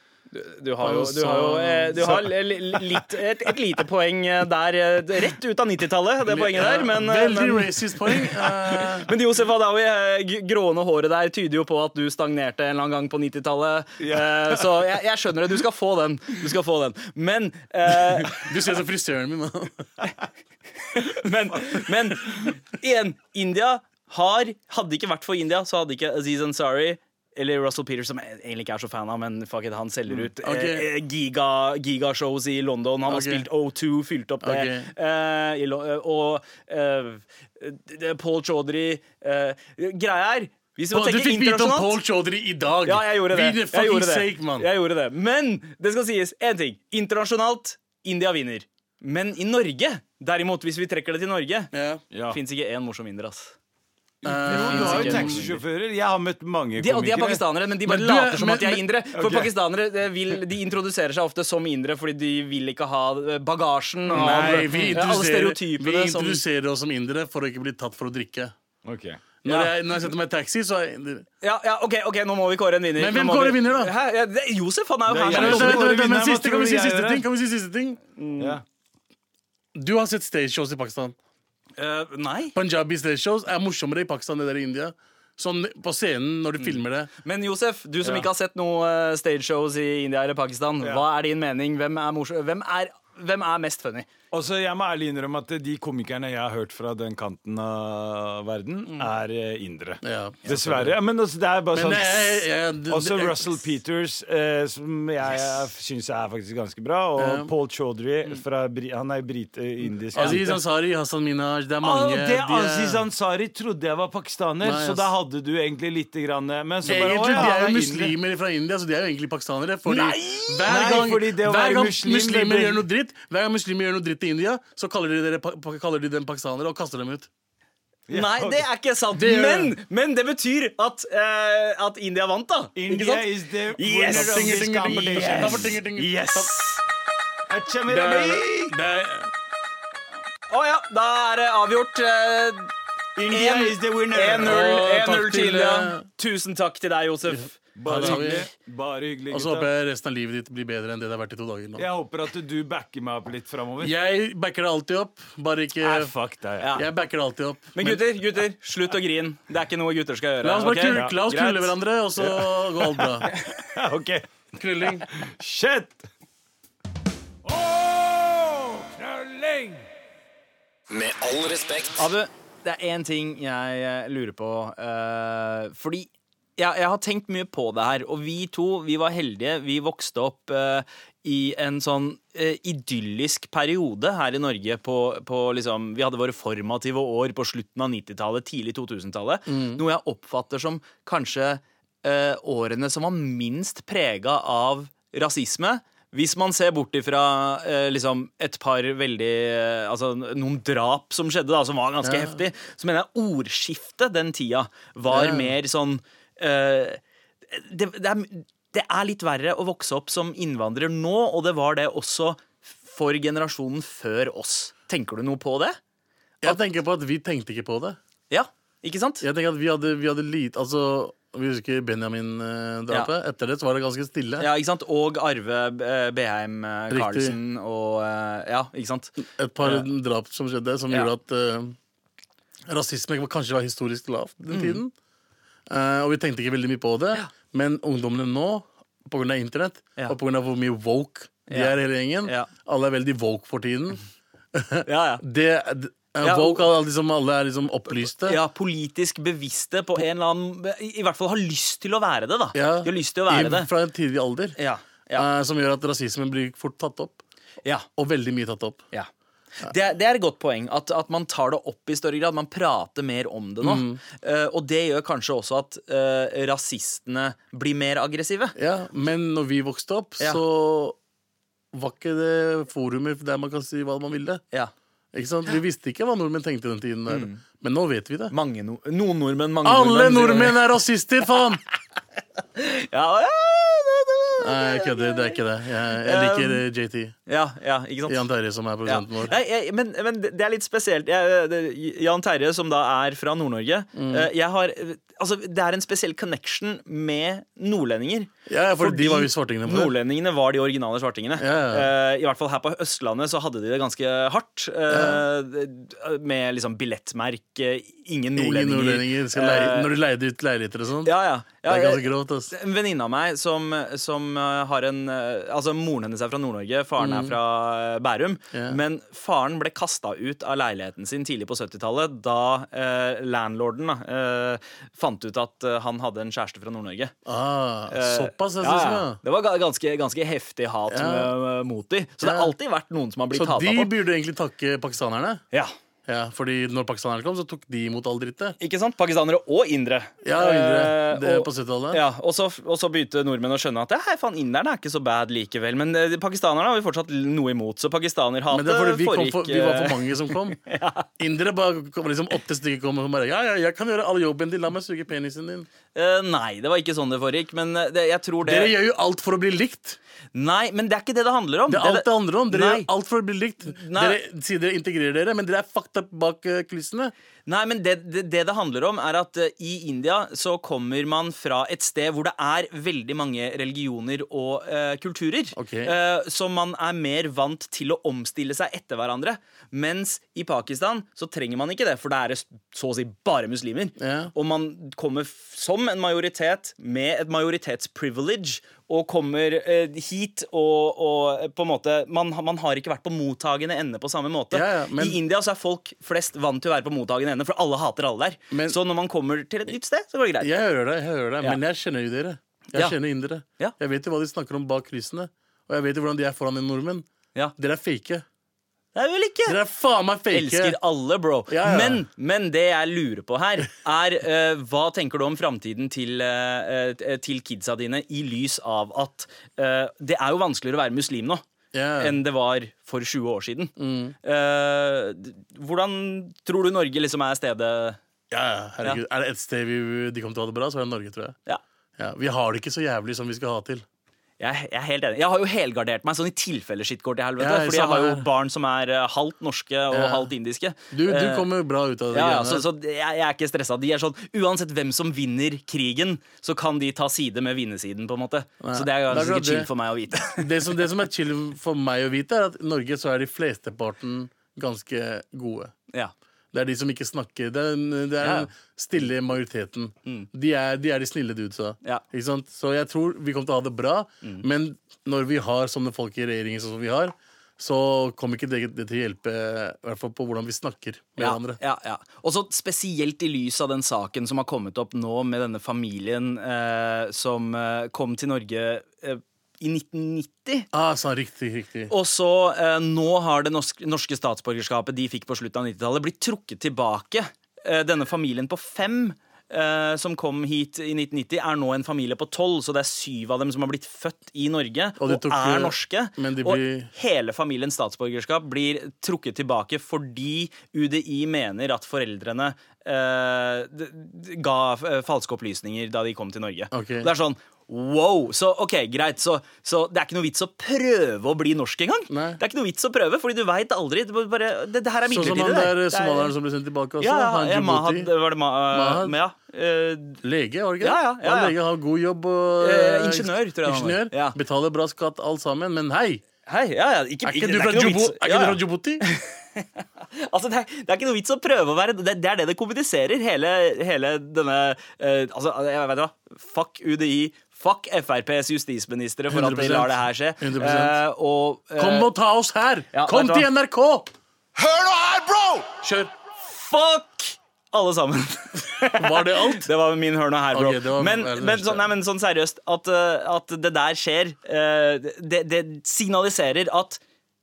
Speaker 6: Du har jo, du har jo eh, du har li- li- litt, et, et lite poeng eh, der, eh, rett ut av 90-tallet, det poenget der, men, eh,
Speaker 7: Veldig
Speaker 6: men
Speaker 7: racist poeng.
Speaker 6: (laughs)
Speaker 7: Eh,
Speaker 6: Men Josef Adawi, eh, g- grående håret der tyder jo på at du stagnerte en eller annen gang på 90-tallet. Eh, Så jeg, jeg skjønner det. Du skal få den. Du skal få den. Men, eh,
Speaker 7: du ser som frisøren min. da.
Speaker 6: men, men igjen, India har Hadde det ikke vært for India, så hadde ikke Aziz Ansari eller Russell Peters, som jeg egentlig ikke er så fan av, men fuck it, han selger ut
Speaker 7: Mm, Ok.
Speaker 6: eh, eh, giga, gigashows i London. Han har
Speaker 7: Ok.
Speaker 6: spilt O2, fylt opp det.
Speaker 7: Ok.
Speaker 6: Eh, i, Lo- eh, og eh, d- d- Paul Chaudhry eh, Greia er hvis vi må
Speaker 7: Å, Du
Speaker 6: tenke
Speaker 7: fikk vite om
Speaker 6: internasjonalt-
Speaker 7: Paul Chaudhry i dag.
Speaker 6: Ja, jeg gjorde det.
Speaker 7: Videre,
Speaker 6: Jeg
Speaker 7: fucking
Speaker 6: gjorde det.
Speaker 7: sake, mann.
Speaker 6: Jeg gjorde det. Men det skal sies én ting. Internasjonalt, India vinner. Men i Norge, derimot, hvis vi trekker det til Norge,
Speaker 7: Ja. Eh,
Speaker 6: Finnes fins ikke én morsom inder, ass.
Speaker 9: Jo, du har jo
Speaker 6: ikke.
Speaker 9: taxisjåfører. Jeg har møtt mange
Speaker 6: De, og de er
Speaker 9: komikere.
Speaker 6: pakistanere, men de bare
Speaker 7: Men du er-
Speaker 6: later som
Speaker 7: men-
Speaker 6: at de er
Speaker 7: men-
Speaker 6: indere. For
Speaker 9: Ok.
Speaker 6: pakistanere eh, vil, de introduserer seg ofte som indere fordi de vil ikke ha eh, bagasjen av
Speaker 7: Nei, vi
Speaker 6: eh, alle
Speaker 7: introduserer, vi
Speaker 6: stereotypene som
Speaker 7: introduserer oss som indere for å ikke bli tatt for å drikke.
Speaker 9: Ok.
Speaker 7: Når, jeg, når jeg setter meg i taxi, så er jeg
Speaker 6: ja, ja, OK, ok, nå må vi kåre en vinner.
Speaker 7: Men hvem
Speaker 6: Nå må
Speaker 7: kårer
Speaker 6: vi-
Speaker 7: vinner, da?
Speaker 6: Hæ? Ja, det, Josef, han er jo
Speaker 9: Det er
Speaker 6: her.
Speaker 9: jeg.
Speaker 6: som lover.
Speaker 7: Vent, vent, vent,
Speaker 9: Kåre
Speaker 7: men
Speaker 9: vinner,
Speaker 7: siste,
Speaker 9: hva
Speaker 7: kan vi si
Speaker 9: tror du jeg
Speaker 7: siste
Speaker 9: gjør,
Speaker 7: ting? Kan vi si siste ting?
Speaker 6: Mm.
Speaker 9: Ja.
Speaker 7: Du har sett stage shows i Pakistan.
Speaker 6: Eh, nei.
Speaker 7: Punjabi stage shows er morsommere i Pakistan enn det der i India. Sånn på scenen når
Speaker 9: Mm.
Speaker 7: du filmer det.
Speaker 6: Men Josef, du som ikke har sett noe eh, stageshows i India eller Pakistan, hva er din mening? Hvem er, morsom, hvem er, hvem er mest funny?
Speaker 9: Altså, jeg må ærlig innrømme at de komikerne jeg har hørt fra den kanten av verden,
Speaker 6: Mm.
Speaker 9: er eh, indere.
Speaker 7: Ja.
Speaker 9: Dessverre. Men altså, det er bare
Speaker 7: Men
Speaker 9: sånn
Speaker 7: jeg- jeg- det-
Speaker 9: Også
Speaker 7: det-
Speaker 9: Russell Peters, eh, som jeg yes. syns er faktisk ganske bra. Og
Speaker 7: Ja. Mm.
Speaker 9: Paul Chaudhry, fra, Bri- han er brit, eh, indisk.
Speaker 7: Aziz Ansari, Hassan Minaj, det er
Speaker 9: Ah,
Speaker 7: mange.
Speaker 9: det
Speaker 7: de er-
Speaker 9: Aziz Ansari trodde jeg var pakistaner,
Speaker 7: Nei, ass.
Speaker 9: så da hadde du egentlig lite grann eh, Men så bare, å,
Speaker 7: Egentlig,
Speaker 9: ja,
Speaker 7: de er
Speaker 9: han
Speaker 7: jo
Speaker 9: inder.
Speaker 7: muslimer fra India, så de er jo egentlig pakistanere. Fordi hver
Speaker 9: Nei,
Speaker 7: gang,
Speaker 9: fordi det å
Speaker 7: hver
Speaker 9: være
Speaker 7: gang
Speaker 9: muslim,
Speaker 7: muslimer
Speaker 9: det-
Speaker 7: gjør noe dritt Hver gang muslimer gjør noe dritt i India, så kaller de, dere, pa- pa- kaller de dem pakistanere og kaster dem ut.
Speaker 6: Nei, det er ikke sant.
Speaker 7: Det gjør-
Speaker 6: men, men det betyr at, eh, at India vant, da. ikke
Speaker 9: India
Speaker 6: sant?
Speaker 9: is the winner
Speaker 6: Yes.
Speaker 9: of this competition.
Speaker 7: Yes!
Speaker 9: Yes!
Speaker 7: Det er-
Speaker 9: Achamirabi!
Speaker 7: det er-
Speaker 6: Å ja, da er det avgjort. eh,
Speaker 9: India
Speaker 6: En-
Speaker 9: is the winner.
Speaker 6: 1-0
Speaker 7: Å,
Speaker 6: 1-0
Speaker 7: takk
Speaker 6: til
Speaker 7: til,
Speaker 6: India.
Speaker 7: eh,
Speaker 6: Tusen takk til deg, Josef.
Speaker 9: Bare
Speaker 7: Hadde vi-
Speaker 9: hyggelig. Bare hyggelig
Speaker 7: Og så håper
Speaker 9: gutta.
Speaker 7: jeg resten av livet ditt blir bedre enn det det har vært i to dager nå.
Speaker 9: Jeg håper at du backer meg opp litt framover.
Speaker 7: Jeg backer det alltid opp, bare ikke
Speaker 9: Nei, fuck deg.
Speaker 6: Ja.
Speaker 7: Jeg backer det alltid opp.
Speaker 6: Men gutter, gutter, slutt å grine. Det er ikke noe gutter skal gjøre.
Speaker 7: La oss bare
Speaker 6: ok?
Speaker 7: kru- la oss
Speaker 6: Ja,
Speaker 7: knulle
Speaker 6: greit.
Speaker 7: hverandre, og så går alt bra.
Speaker 6: (laughs)
Speaker 9: (laughs) OK.
Speaker 7: Knulling.
Speaker 9: Shit! Åh, knulling!
Speaker 1: Med all respekt.
Speaker 6: Abu, det er én ting jeg eh, lurer på. eh, fordi jeg, jeg har tenkt mye på det her. Og vi to vi var heldige. Vi vokste opp eh, i en sånn eh, idyllisk periode her i Norge. På, på liksom, vi hadde våre formative år på slutten av 90-tallet, tidlig 2000-tallet. Noe jeg oppfatter som kanskje eh, årene som var minst prega av rasisme. Hvis man ser bort ifra eh, liksom et par veldig eh, Altså noen drap som skjedde, da, som var ganske heftig, så mener jeg ordskiftet den tida var mer sånn eh, det, det, er, det er litt verre å vokse opp som innvandrer nå, og det var det også for generasjonen før oss. Tenker du noe på det?
Speaker 7: Jeg tenker på at vi tenkte ikke på det.
Speaker 6: Ja, ikke sant?
Speaker 7: Jeg tenker at vi hadde, vi hadde lite Altså, vi husker Benjamin-drapet. Etter det så var det ganske stille.
Speaker 6: Ja, ikke sant? Og Arve eh, Beheim eh,
Speaker 7: Riktig.
Speaker 6: Karlsen og eh, Ja, ikke sant?
Speaker 7: Et par drap som skjedde, som
Speaker 6: Ja.
Speaker 7: gjorde at eh, rasisme var- kanskje var historisk lavt
Speaker 6: Mm.
Speaker 7: den tiden. Eh, og vi tenkte ikke veldig mye på det. Men ungdommene nå, pga. internett
Speaker 6: Ja.
Speaker 7: og pga. hvor mye woke de
Speaker 6: Ja.
Speaker 7: er, hele gjengen
Speaker 6: Ja. Mhm.
Speaker 7: Alle er veldig woke for tiden.
Speaker 6: Ja,
Speaker 7: (laughs)
Speaker 6: ja.
Speaker 7: Det, det, eh,
Speaker 6: Ja,
Speaker 7: woke er liksom, alle er liksom opplyste.
Speaker 6: ja, politisk bevisste på en eller annen I i hvert fall har lyst til å være det, da.
Speaker 7: Ja.
Speaker 6: De har lyst til å være
Speaker 7: I-
Speaker 6: det.
Speaker 7: Fra en tidlig alder.
Speaker 6: Ja, ja,
Speaker 7: eh, som gjør at rasismen blir fort tatt opp.
Speaker 6: ja,
Speaker 7: Og veldig mye tatt opp.
Speaker 6: ja. Det, er- det er et godt poeng at, at man tar det opp i større grad. Man prater mer om det
Speaker 7: Mm.
Speaker 6: nå. Eh, og det gjør kanskje også at eh, rasistene blir mer aggressive.
Speaker 7: Ja, Men når vi vokste opp,
Speaker 6: Ja.
Speaker 7: så var ikke det forumer der man kan si hva man ville.
Speaker 6: Ja. Mm.
Speaker 7: Ikke sant? Vi visste ikke hva nordmenn tenkte den tiden der. Men nå vet vi det.
Speaker 6: Mange no noen nordmenn, mange
Speaker 7: Alle
Speaker 6: sier-
Speaker 7: nordmenn er rasister, faen!
Speaker 6: Ja, ja, det- det-
Speaker 7: Nei, jeg kødder. Det er ikke det. Jeg, jeg liker eh, JT.
Speaker 6: ja, ja, ikke sant?
Speaker 7: Jan Terje, som er
Speaker 6: Um, Ja.
Speaker 7: produsenten vår.
Speaker 6: Nei, jeg, men, men det det er litt spesielt. Jeg, eh, det, Jan Terje, som da er fra Nord-Norge
Speaker 7: Mm.
Speaker 6: eh, Jeg har Altså, det er en spesiell connection med nordlendinger.
Speaker 7: Ja, ja, for de var jo svartingene på det.
Speaker 6: Nordlendingene var de originale svartingene.
Speaker 7: Ja,
Speaker 6: Eh, I hvert fall her på Østlandet så hadde de det ganske hardt. eh, Med liksom billettmerke, ingen nordlendinger.
Speaker 7: Ingen nordlendinger skal leie,
Speaker 6: Eh,
Speaker 7: Når de leide ut leiligheter og sånn.
Speaker 6: ja, ja. ja
Speaker 7: det er
Speaker 6: jeg-
Speaker 7: ganske grovt, ass.
Speaker 6: en venninne av meg som, som eh, har en eh, Altså, moren hennes er fra Nord-Norge, faren er fra eh, Bærum.
Speaker 7: Mm. Ja.
Speaker 6: Men faren ble kasta ut av leiligheten sin tidlig på 70-tallet da eh, landlorden da, eh, fant ut at eh, han hadde en kjæreste fra Nord-Norge.
Speaker 7: Ah,
Speaker 6: Eh,
Speaker 7: såpass, jeg
Speaker 6: ja,
Speaker 7: synes
Speaker 6: ja.
Speaker 7: jeg.
Speaker 6: Det var ga- ganske, ganske heftig hat
Speaker 7: Ja.
Speaker 6: eh, mot de Så det har
Speaker 7: Ja.
Speaker 6: alltid vært noen som har blitt
Speaker 7: Så
Speaker 6: hata
Speaker 7: de
Speaker 6: på.
Speaker 7: burde egentlig takke pakistanerne?
Speaker 6: Ja.
Speaker 7: Ja, fordi når pakistanerne kom, så tok de imot all drittet.
Speaker 6: Ikke sant? Pakistanere og indre.
Speaker 7: Ja, indre.
Speaker 6: Eh,
Speaker 7: Det
Speaker 6: og-
Speaker 7: på 70-tallet.
Speaker 6: Ja, og så, og så begynte nordmenn å skjønne at hei, faen, inderne er ikke så bad likevel. Men eh, pakistanerne har vi fortsatt noe imot, så
Speaker 7: Men det
Speaker 6: pakistanerhatet
Speaker 7: er fordi vi, kom
Speaker 6: foregikk
Speaker 7: for, vi var
Speaker 6: eh,
Speaker 7: for mange
Speaker 6: (laughs)
Speaker 7: som kom. Indere bare kom, liksom åtte stykker kom og bare Ja, ja, jeg kan gjøre all jobben din. La meg suge penisen din.
Speaker 6: eh, Nei, det var ikke sånn det foregikk. Men eh, det, jeg tror det
Speaker 7: Dere gjør jo alt for å bli likt.
Speaker 6: Nei, men det er ikke det det handler om.
Speaker 7: Det er alt det handler om. Dere
Speaker 6: Nei.
Speaker 7: gjør alt for å bli likt. Dere sier dere integrerer dere, men dere er fucked up bak eh, kulissene.
Speaker 6: Nei, men det, det det det handler om, er at eh, i India så kommer man fra et sted hvor det er veldig mange religioner og eh, kulturer.
Speaker 7: Ok.
Speaker 6: eh, så man er mer vant til å omstille seg etter hverandre. Mens i Pakistan så trenger man ikke det, for der er det s- så å si bare muslimer.
Speaker 7: Ja.
Speaker 6: Og man kommer f- som en majoritet med et majoritetsprivilege. Og kommer eh, hit og, og eh, på en måte man, man har ikke vært på mottagende ende på samme måte.
Speaker 7: Ja, ja, men-
Speaker 6: I India så er folk flest vant til å være på mottagende ende, for alle hater alle der.
Speaker 7: Men-
Speaker 6: så når man kommer til et nytt sted, så går det greit.
Speaker 7: Jeg hører det, jeg hører det
Speaker 6: Ja.
Speaker 7: men jeg kjenner jo dere. Jeg
Speaker 6: Ja.
Speaker 7: kjenner indere.
Speaker 6: Ja.
Speaker 7: Jeg vet jo hva de snakker om bak kulissene. Og jeg vet jo hvordan de er foran en nordmenn.
Speaker 6: Ja.
Speaker 7: Dere er fake.
Speaker 6: Det er vel ikke
Speaker 7: Dere er faen meg fake.
Speaker 6: Elsker alle, bro.
Speaker 7: Ja, ja.
Speaker 6: Men, men det jeg lurer på her, er eh, hva tenker du om framtiden til, eh, eh, til kidsa dine i lys av at eh, det er jo vanskeligere å være muslim nå
Speaker 7: Ja. Mm.
Speaker 6: enn det var for 20 år siden. Eh, d- hvordan tror du Norge liksom er stedet
Speaker 7: Ja, ja, herregud. Er det et sted vi, de kommer til å ha det bra, så er det Norge, tror jeg.
Speaker 6: Ja.
Speaker 7: Ja, vi har det ikke så jævlig som vi skal ha til.
Speaker 6: Jeg, jeg er helt enig. Jeg har jo helgardert meg sånn i tilfelle skitt går til helvete.
Speaker 7: Ja,
Speaker 6: fordi jeg har jo
Speaker 7: samme her.
Speaker 6: barn som er eh, halvt norske og
Speaker 7: Ja.
Speaker 6: halvt indiske.
Speaker 7: Du, du
Speaker 6: Eh,
Speaker 7: kommer bra ut av det.
Speaker 6: Ja, ja,
Speaker 7: greiene
Speaker 6: så,
Speaker 7: der.
Speaker 6: så jeg, jeg er ikke stressa. De er sånn, uansett hvem som vinner krigen, så kan de ta side med vinnersiden. på en måte
Speaker 7: Nei,
Speaker 6: Så det er
Speaker 7: det er
Speaker 6: ganske
Speaker 7: akkurat
Speaker 6: chill
Speaker 7: det.
Speaker 6: for meg å vite. (laughs)
Speaker 7: det, som, det som er chill for meg å vite, er at i Norge så er de flesteparten ganske gode.
Speaker 6: ja.
Speaker 7: Det er de som ikke snakker. Det er, den- det er
Speaker 6: Ja. Mm.
Speaker 7: den stille majoriteten. De, er, de er de snille dudesa.
Speaker 6: Ja. Mm.
Speaker 7: Ikke sant? Så jeg tror vi kommer til å ha det bra, men når vi har sånne folk i regjeringen sånn som vi har, så kommer ikke det, det til å hjelpe i hvert fall på hvordan vi snakker med
Speaker 6: Ja,
Speaker 7: hverandre.
Speaker 6: ja, ja. Og så spesielt i lys av den saken som har kommet opp nå med denne familien eh, som eh, kom til Norge eh, i 1990.
Speaker 7: Ah, sånn, riktig, riktig.
Speaker 6: Og så eh, nå har det norske, norske statsborgerskapet de fikk på slutten av 90-tallet, blitt trukket tilbake. Eh, denne familien på fem eh, som kom hit i 1990, er nå en familie på tolv. Så det er syv av dem som har blitt født i Norge
Speaker 7: Og
Speaker 6: og,
Speaker 7: de tok, eh,
Speaker 6: er norske.
Speaker 7: men de blir-
Speaker 6: Og hele familiens statsborgerskap blir trukket tilbake fordi UDI mener at foreldrene eh, d- d- ga eh, falske opplysninger da de kom til Norge.
Speaker 7: Ok.
Speaker 6: Det er sånn Wow! Så ok, greit. Så, så det er ikke noe vits å prøve å bli norsk engang.
Speaker 7: Nei.
Speaker 6: Det er ikke noe vits å prøve, fordi du veit aldri. Det, bare, det, det her er
Speaker 7: Sånn
Speaker 6: midlertidig.
Speaker 7: som han der
Speaker 6: det. Det er-
Speaker 7: somalieren som ble sendt tilbake også.
Speaker 6: ja, ja,
Speaker 7: han
Speaker 6: ja, Mahad,
Speaker 7: Djibouti.
Speaker 6: var det ma
Speaker 7: Mahad?
Speaker 6: men ja. eh,
Speaker 7: Lege, var det ikke det?
Speaker 6: Ja, ja, ja,
Speaker 7: Han
Speaker 6: ja.
Speaker 7: lege har god jobb og
Speaker 6: Eh, ingeniør, tror jeg han var.
Speaker 7: ingeniør.
Speaker 6: Ja.
Speaker 7: Betaler bra skatt, alt sammen. Men hei,
Speaker 6: hei, ja, ja. Ikke, ikke-
Speaker 7: er ikke
Speaker 6: det
Speaker 7: du
Speaker 6: er
Speaker 7: fra
Speaker 6: ikke noe
Speaker 7: Djibou-
Speaker 6: vits- Ja,
Speaker 7: er ikke du
Speaker 6: ja.
Speaker 7: fra Djibouti?
Speaker 6: (laughs) Altså, det, er, det er ikke noe vits å prøve å være Det, det er det det kommuniserer, hele, hele denne eh, Altså, jeg vet hva Fuck UDI, fuck FrPs justisministre for at de
Speaker 7: 100%.
Speaker 6: lar det her skje.
Speaker 7: 100%.
Speaker 6: Eh, og, eh,
Speaker 7: Kom og ta oss her!
Speaker 6: Ja,
Speaker 7: Kom
Speaker 6: vet du
Speaker 7: til
Speaker 6: hva?
Speaker 7: NRK!
Speaker 1: Hør nå her, bro!
Speaker 7: Kjør.
Speaker 6: fuck alle sammen.
Speaker 7: Var det alt?
Speaker 6: (laughs) Det var min hør nå her, bro.
Speaker 7: Ok, det var-
Speaker 6: men,
Speaker 7: det var-
Speaker 6: men, sånn, nei, men sånn seriøst, at, eh, at det der skjer, eh, det, det signaliserer at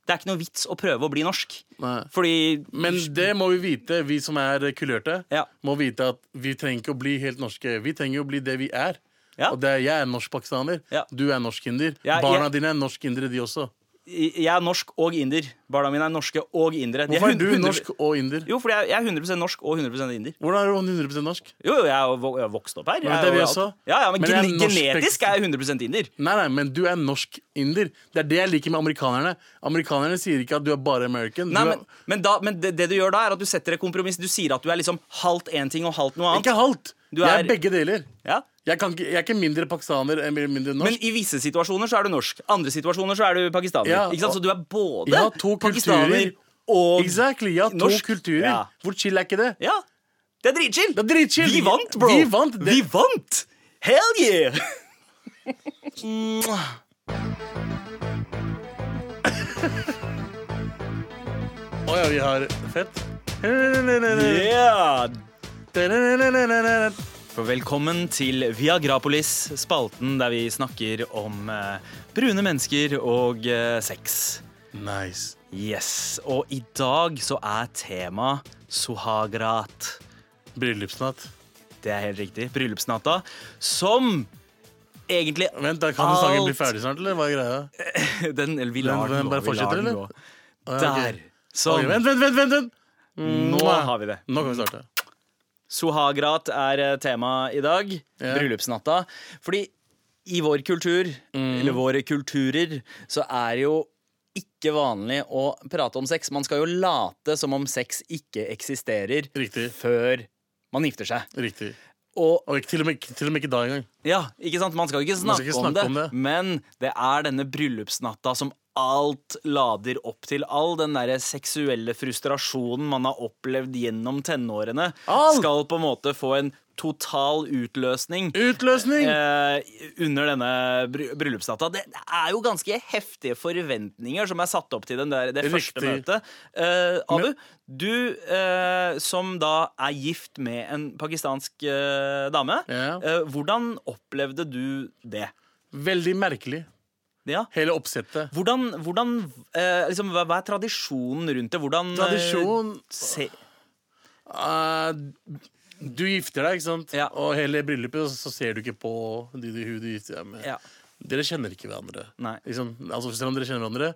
Speaker 6: det er ikke noe vits å prøve å bli norsk.
Speaker 7: Nei.
Speaker 6: Fordi
Speaker 7: Men det må vi vite, vi som er kulørte.
Speaker 6: Ja.
Speaker 7: Må vite at vi trenger ikke å bli helt norske. Vi trenger å bli det vi er.
Speaker 6: Ja.
Speaker 7: Og det er, jeg er norsk-pakistaner.
Speaker 6: Ja.
Speaker 7: Du er norsk-inder.
Speaker 6: Ja,
Speaker 7: Barna
Speaker 6: jeg-
Speaker 7: dine er norsk-indere, de også.
Speaker 6: jeg er norsk og inder. Barna mine er norske og indere. De
Speaker 7: Hvorfor er du
Speaker 6: 100
Speaker 7: norsk og inder?
Speaker 6: Jo, fordi jeg, jeg er 100 norsk og 100 inder.
Speaker 7: Hvordan er du 100 norsk?
Speaker 6: Jo, jo, jeg er jo vo- jeg er vokst opp her.
Speaker 7: Men
Speaker 6: Jeg
Speaker 7: det er
Speaker 6: jo
Speaker 7: vi
Speaker 6: alt.
Speaker 7: også.
Speaker 6: Ja, ja, men,
Speaker 7: Men jeg er
Speaker 6: gene-
Speaker 7: norsk-
Speaker 6: genetisk er jeg 100 inder.
Speaker 7: Nei, nei, men du er norsk-inder. Det er det jeg liker med amerikanerne. Amerikanerne sier ikke at du er bare American. Du
Speaker 6: Nei,
Speaker 7: er-
Speaker 6: men men, da, men det, det du gjør da, er at du setter et kompromiss. Du sier at du er liksom halvt én ting og halvt noe annet.
Speaker 7: Ikke halvt.
Speaker 6: Du
Speaker 7: Jeg
Speaker 6: er-
Speaker 7: er begge deler.
Speaker 6: Ja.
Speaker 7: Jeg, kan ikke, jeg er ikke mindre pakistaner enn mindre norsk.
Speaker 6: Men i visse situasjoner så er du norsk. Andre situasjoner så er du pakistaner.
Speaker 7: Ja,
Speaker 6: ikke sant? Så
Speaker 7: og-
Speaker 6: du er både
Speaker 7: Ja, to
Speaker 6: pakistaner
Speaker 7: kulturer.
Speaker 6: og
Speaker 7: Exactly, ja, to
Speaker 6: norsk.
Speaker 7: kulturer.
Speaker 6: Ja.
Speaker 7: Hvor chill er ikke det?
Speaker 6: Ja. Det er dritchill.
Speaker 7: Det er dritchill.
Speaker 6: Vi vant, bro.
Speaker 7: Vi vant. Det-
Speaker 6: Vi vant. Hell yeah!
Speaker 7: Å ja, vi har fett.
Speaker 6: Yeah. For velkommen til Viagrapolis, spalten der vi snakker om eh, brune mennesker og eh, sex.
Speaker 7: Nice.
Speaker 6: Yes, og i dag så er tema Sohagrat.
Speaker 7: Bryllupsnatt.
Speaker 6: Det er helt riktig. Bryllupsnatta. Som egentlig
Speaker 7: Vent, da kan Alt. sangen bli
Speaker 6: Alt.
Speaker 7: ferdig snart, eller hva er greia?
Speaker 6: (laughs) den, eller vi lar
Speaker 7: Den-
Speaker 6: den,
Speaker 7: den bare
Speaker 6: gå. Vi lar
Speaker 7: fortsetter,
Speaker 6: den
Speaker 7: eller?
Speaker 6: gå.
Speaker 7: ja, Ah, ok.
Speaker 6: Der. Sånn.
Speaker 7: Ok, vent, vent, vent, vent, vent!
Speaker 6: Nå har vi det.
Speaker 7: Nå kan vi starte.
Speaker 6: Sohagrat er eh, tema i dag.
Speaker 7: Ja.
Speaker 6: Bryllupsnatta. Fordi i vår kultur,
Speaker 7: Mm.
Speaker 6: eller våre kulturer, så er det jo ikke vanlig å prate om sex. Man skal jo late som om sex ikke eksisterer
Speaker 7: Riktig.
Speaker 6: før man gifter seg.
Speaker 7: Riktig.
Speaker 6: Og
Speaker 7: Og ikke, til, og med, til og med ikke da engang.
Speaker 6: ja, ikke sant? Man skal jo ikke
Speaker 7: Man
Speaker 6: snakke,
Speaker 7: skal ikke
Speaker 6: om,
Speaker 7: snakke
Speaker 6: det,
Speaker 7: om det.
Speaker 6: men det er denne bryllupsnatta som alt lader opp til. All den derre seksuelle frustrasjonen man har opplevd gjennom tenårene,
Speaker 7: Alt!
Speaker 6: skal på en måte få en total utløsning.
Speaker 7: Utløsning!
Speaker 6: Eh, under denne bry- bryllupsnatta. Det det er jo ganske heftige forventninger som er satt opp til den der, det første
Speaker 7: Riktig.
Speaker 6: møtet. Eh, Abu, du eh, som da er gift med en pakistansk eh, dame.
Speaker 7: Ja.
Speaker 6: eh, hvordan opplevde du det?
Speaker 7: Veldig merkelig.
Speaker 6: Ja.
Speaker 7: Hele oppsettet.
Speaker 6: Hvordan, hvordan eh, liksom, hva, hva er tradisjonen rundt det? Hvordan eh,
Speaker 7: Tradisjon
Speaker 6: se,
Speaker 7: eh, Du gifter deg, ikke sant?
Speaker 6: Ja.
Speaker 7: Og hele bryllupet, så, så ser du ikke på de, de, hun du gifter deg med.
Speaker 6: Ja.
Speaker 7: Dere kjenner ikke hverandre.
Speaker 6: Nei. Mm.
Speaker 7: Liksom, altså Selv om dere kjenner hverandre,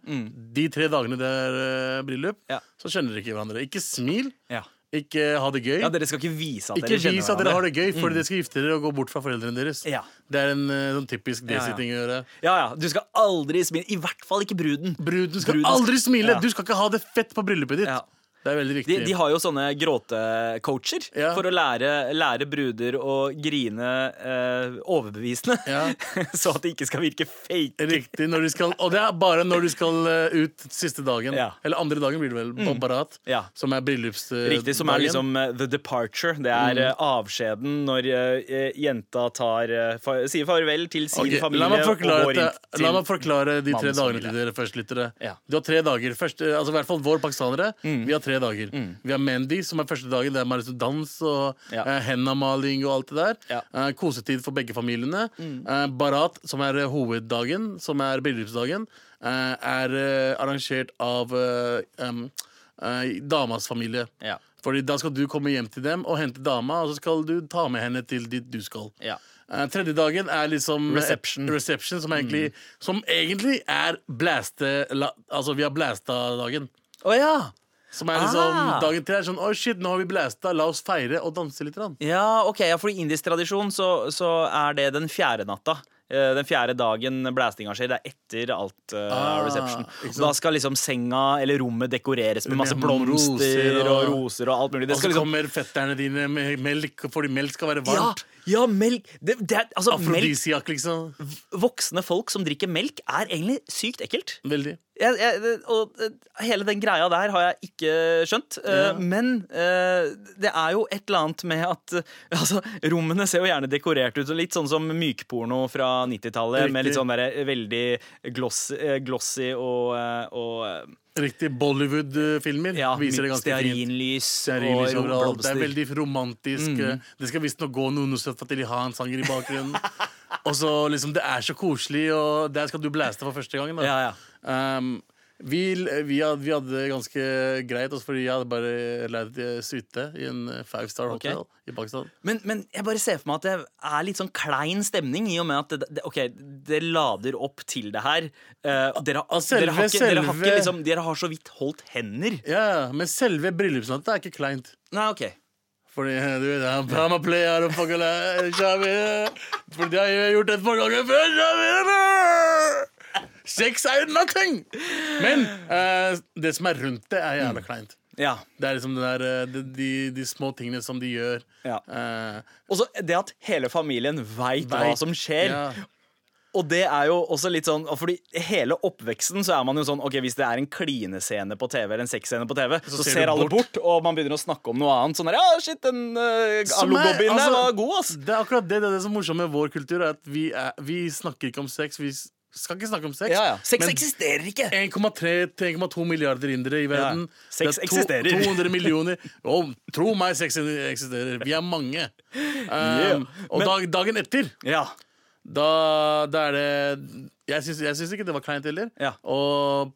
Speaker 7: de tre dagene det er eh, bryllup,
Speaker 6: Ja.
Speaker 7: så kjenner dere ikke hverandre. Ikke smil,
Speaker 6: ja.
Speaker 7: ikke ha det gøy.
Speaker 6: ja, dere skal ikke vise at
Speaker 7: ikke
Speaker 6: dere kjenner
Speaker 7: vis at dere har
Speaker 6: hverandre. Mm.
Speaker 7: det gøy, fordi dere skal gifte dere og gå bort fra foreldrene deres.
Speaker 6: Ja.
Speaker 7: Det er en eh, sånn typisk
Speaker 6: ja.
Speaker 7: desi-ting å gjøre.
Speaker 6: Ja, ja, Du skal aldri smile. I hvert fall ikke bruden.
Speaker 7: Bruden skal
Speaker 6: Bruden skal-
Speaker 7: aldri smile!
Speaker 6: Ja.
Speaker 7: Du skal ikke ha det fett på bryllupet ditt.
Speaker 6: Ja.
Speaker 7: Det er veldig viktig.
Speaker 6: De, de har jo sånne gråtecoacher
Speaker 7: Ja.
Speaker 6: for å lære, lære bruder å grine eh, overbevisende.
Speaker 7: Ja.
Speaker 6: (laughs) så at det ikke skal virke fake.
Speaker 7: Riktig, når de skal, og det er bare når de skal eh, ut siste dagen.
Speaker 6: Ja. Mm.
Speaker 7: Eller andre dagen blir det vel. på Barat,
Speaker 6: Ja.
Speaker 7: som er bryllupsdagen.
Speaker 6: Riktig, som er liksom eh, the departure. Det er
Speaker 7: Mm.
Speaker 6: eh, avskjeden når eh, jenta tar, eh, fa sier farvel til sin
Speaker 7: Ok,
Speaker 6: familie
Speaker 7: la, meg
Speaker 6: og
Speaker 7: forklare,
Speaker 6: går inn
Speaker 7: det- la meg forklare de tre
Speaker 6: mannens
Speaker 7: dagene
Speaker 6: familie.
Speaker 7: til dere først, lyttere.
Speaker 6: Ja. Mm.
Speaker 7: Du har tre dager. Først, eh, altså, I hvert fall vår pakistanere. Vi har tre dager. Vi har Mendy, som er første dagen. Det er bare sånn dans og
Speaker 6: Ja.
Speaker 7: eh, hendamaling og alt det der.
Speaker 6: Ja. Mm.
Speaker 7: Eh, kosetid for begge familiene. Eh, barat, som er eh, hoveddagen, som er bryllupsdagen, eh, er eh, arrangert av eh, em, eh, damas familie.
Speaker 6: Ja.
Speaker 7: Fordi da skal du komme hjem til dem og hente dama, og så skal du ta med henne til dit du skal.
Speaker 6: Ja.
Speaker 7: Eh, tredje dagen er liksom
Speaker 6: Reception. Mm.
Speaker 7: reception som, egentlig, som egentlig er blæste... La, altså, vi har blæsta-dagen.
Speaker 6: Å ja!
Speaker 7: Som er liksom
Speaker 6: Ah.
Speaker 7: Dagen til er sånn Å, shit, nå har vi blæsta. La oss feire og danse litt. Rann.
Speaker 6: Ja, ok, ja, For i indisk tradisjon så, så er det den fjerde natta. Eh, Den fjerde dagen blæstinga skjer. Det er etter alt eh,
Speaker 7: Ah,
Speaker 6: reception.
Speaker 7: ikke sant.
Speaker 6: Da skal liksom senga eller rommet dekoreres med masse
Speaker 7: Med
Speaker 6: blomster
Speaker 7: roser
Speaker 6: og
Speaker 7: og-
Speaker 6: roser og alt mulig.
Speaker 7: Og
Speaker 6: Det
Speaker 7: så
Speaker 6: skal liksom
Speaker 7: kommer fetterne dine med melk, fordi melk skal være
Speaker 6: ja,
Speaker 7: varmt.
Speaker 6: ja, melk det, det er, Altså, melk
Speaker 7: Afrodisiak, liksom.
Speaker 6: Voksne folk som drikker melk, er egentlig sykt ekkelt.
Speaker 7: Veldig.
Speaker 6: jeg, jeg, det- og eh, hele den greia der har jeg ikke skjønt. eh,
Speaker 7: Ja.
Speaker 6: Men eh, det er jo et eller annet med at eh, (laughs) altså, Rommene ser jo gjerne dekorert ut, og litt sånn som mykporno fra 90-tallet. Med
Speaker 7: Riktig.
Speaker 6: litt sånn der, veldig gloss, eh, glossy og, eh, og eh,
Speaker 7: Riktig Bollywood-filmer
Speaker 6: ja,
Speaker 7: viser det ganske fint.
Speaker 6: stearinlys
Speaker 7: Stearinlys
Speaker 6: og Mm.
Speaker 7: overalt. liksom, Det
Speaker 6: blomster.
Speaker 7: er veldig romantisk. eh, Det skal visstnok gå noen Nusrat Fatili Han-sanger i bakgrunnen. (laughs) og så liksom, Det er så koselig, og der skal du blæste for første gangen. Da.
Speaker 6: Ja, ja.
Speaker 7: Um, vi, vi, hadde, vi hadde det ganske greit, også, fordi jeg hadde bare leid eh, suite i en eh, five star
Speaker 6: Ok.
Speaker 7: hotel i Pakistan.
Speaker 6: Men, men jeg bare ser for meg at det er litt sånn klein stemning, i og med at det, det, ok, det lader opp til det her. Eh, og dere, har-
Speaker 7: Selve-
Speaker 6: dere, har ikke, dere, har ikke,
Speaker 7: selve-
Speaker 6: liksom, dere har så vidt holdt hender.
Speaker 7: Ja, ja, Men selve bryllupsnatta er ikke kleint.
Speaker 6: Nei, ok.
Speaker 7: Fordi eh, du vet, I'm, I'm a player, I'm fucking, eh, Xavi, eh, Fordi jeg har gjort det et par ganger før Xavi, eh. Sex er jo nothing Men eh, det som er rundt det er
Speaker 6: Mm.
Speaker 7: jævla kleint
Speaker 6: Ja.
Speaker 7: Det er liksom det der, eh, de, de, de små tingene som de gjør
Speaker 6: Ja.
Speaker 7: Eh,
Speaker 6: Og så det at hele familien veit hva
Speaker 7: Vet.
Speaker 6: som skjer.
Speaker 7: ja.
Speaker 6: Og det er jo også litt sånn og Fordi hele oppveksten så er man jo sånn Ok, hvis det er en klinescene på TV, eller en sexscene på TV, så,
Speaker 7: ser
Speaker 6: ser
Speaker 7: du
Speaker 6: alle bort. og man begynner å snakke om noe annet. Sånn der, ja, shit, den uh,
Speaker 7: Som er-
Speaker 6: alogobbyen der
Speaker 7: altså,
Speaker 6: var god, ass.
Speaker 7: Det er akkurat det, det, er det som er morsomt med vår kultur er at vi, er, vi snakker ikke om sex Vi s- skal ikke snakke om sex
Speaker 6: Ja, ja. Sex
Speaker 7: men-
Speaker 6: eksisterer ikke.
Speaker 7: 1,3 til 1,2 milliarder indere i verden.
Speaker 6: Ja. Sex
Speaker 7: Det er
Speaker 6: eksisterer.
Speaker 7: 200 millioner. Og tro meg, sex eksisterer. Vi er mange. Um, Og
Speaker 6: Men-
Speaker 7: dag, dagen etter,
Speaker 6: Ja.
Speaker 7: da, da er det Jeg syns, jeg syns ikke det var kleint heller.
Speaker 6: Ja.
Speaker 7: Og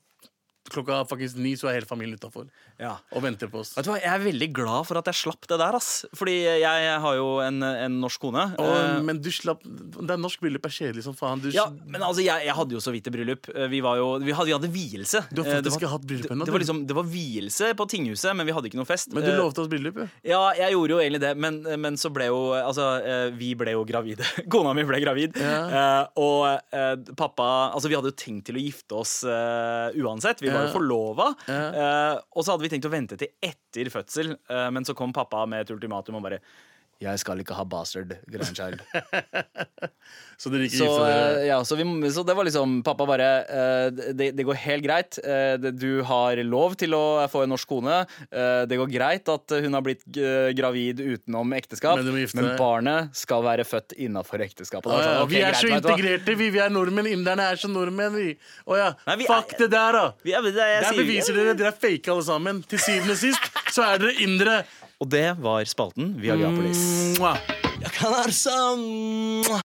Speaker 7: klokka fuckings ni, så er hele familien utafor
Speaker 6: Ja.
Speaker 7: og venter på oss.
Speaker 6: Vet du hva, Jeg er veldig glad for at jeg slapp det der, ass. Fordi jeg har jo en, en norsk kone.
Speaker 7: Og,
Speaker 6: Eh,
Speaker 7: men du slapp Det er norsk bryllup er kjedelig som faen. Du,
Speaker 6: ja, men altså, jeg, jeg hadde jo så vidt et bryllup. Eh, Vi, var jo, vi, hadde, vi hadde vielse.
Speaker 7: du har
Speaker 6: Eh, det var-
Speaker 7: faktisk ikke hatt bryllup ennå.
Speaker 6: det var
Speaker 7: du.
Speaker 6: liksom, det var vielse på tinghuset, men vi hadde ikke noe fest.
Speaker 7: Men du
Speaker 6: Eh,
Speaker 7: lovte oss bryllup, jo.
Speaker 6: Ja, jeg gjorde jo egentlig det, men, eh, men så ble jo Altså, eh, vi ble jo gravide. (laughs) Kona mi ble gravid.
Speaker 7: Ja.
Speaker 6: Eh, Og eh, pappa Altså, vi hadde jo tenkt til å gifte oss eh, uansett. Vi var jo
Speaker 7: Ja.
Speaker 6: forlova.
Speaker 7: Ja.
Speaker 6: Eh, Og så hadde vi tenkt å vente til etter fødsel, eh, men så kom pappa med et ultimatum og bare jeg skal ikke ha bastard grandchild.
Speaker 7: Så dere gikk
Speaker 6: Så,
Speaker 7: og gifta dere.
Speaker 6: eh, ja, så, vi, så det var liksom Pappa bare eh, det, det går helt greit. Eh, det- Du har lov til å få en norsk kone. Eh, Det går greit at hun har blitt eh, gravid utenom ekteskap,
Speaker 7: Men du må gifte
Speaker 6: men
Speaker 7: deg.
Speaker 6: barnet skal være født innafor ekteskapet. Det var
Speaker 7: Å ja,
Speaker 6: sånn, ok,
Speaker 7: Eh, vi er
Speaker 6: greit,
Speaker 7: så
Speaker 6: vet du hva?
Speaker 7: integrerte, vi. Vi er nordmenn. Inderne er som nordmenn, vi. Å ja.
Speaker 6: Nei, vi
Speaker 7: Fuck
Speaker 6: er-
Speaker 7: det der, da.
Speaker 6: Ja, men det, jeg
Speaker 7: Der
Speaker 6: sier-
Speaker 7: beviser dere. Dere er fake alle sammen. Til syvende og sist så er dere indere.
Speaker 6: Og det var spalten Viagrapolis.
Speaker 7: Mwah.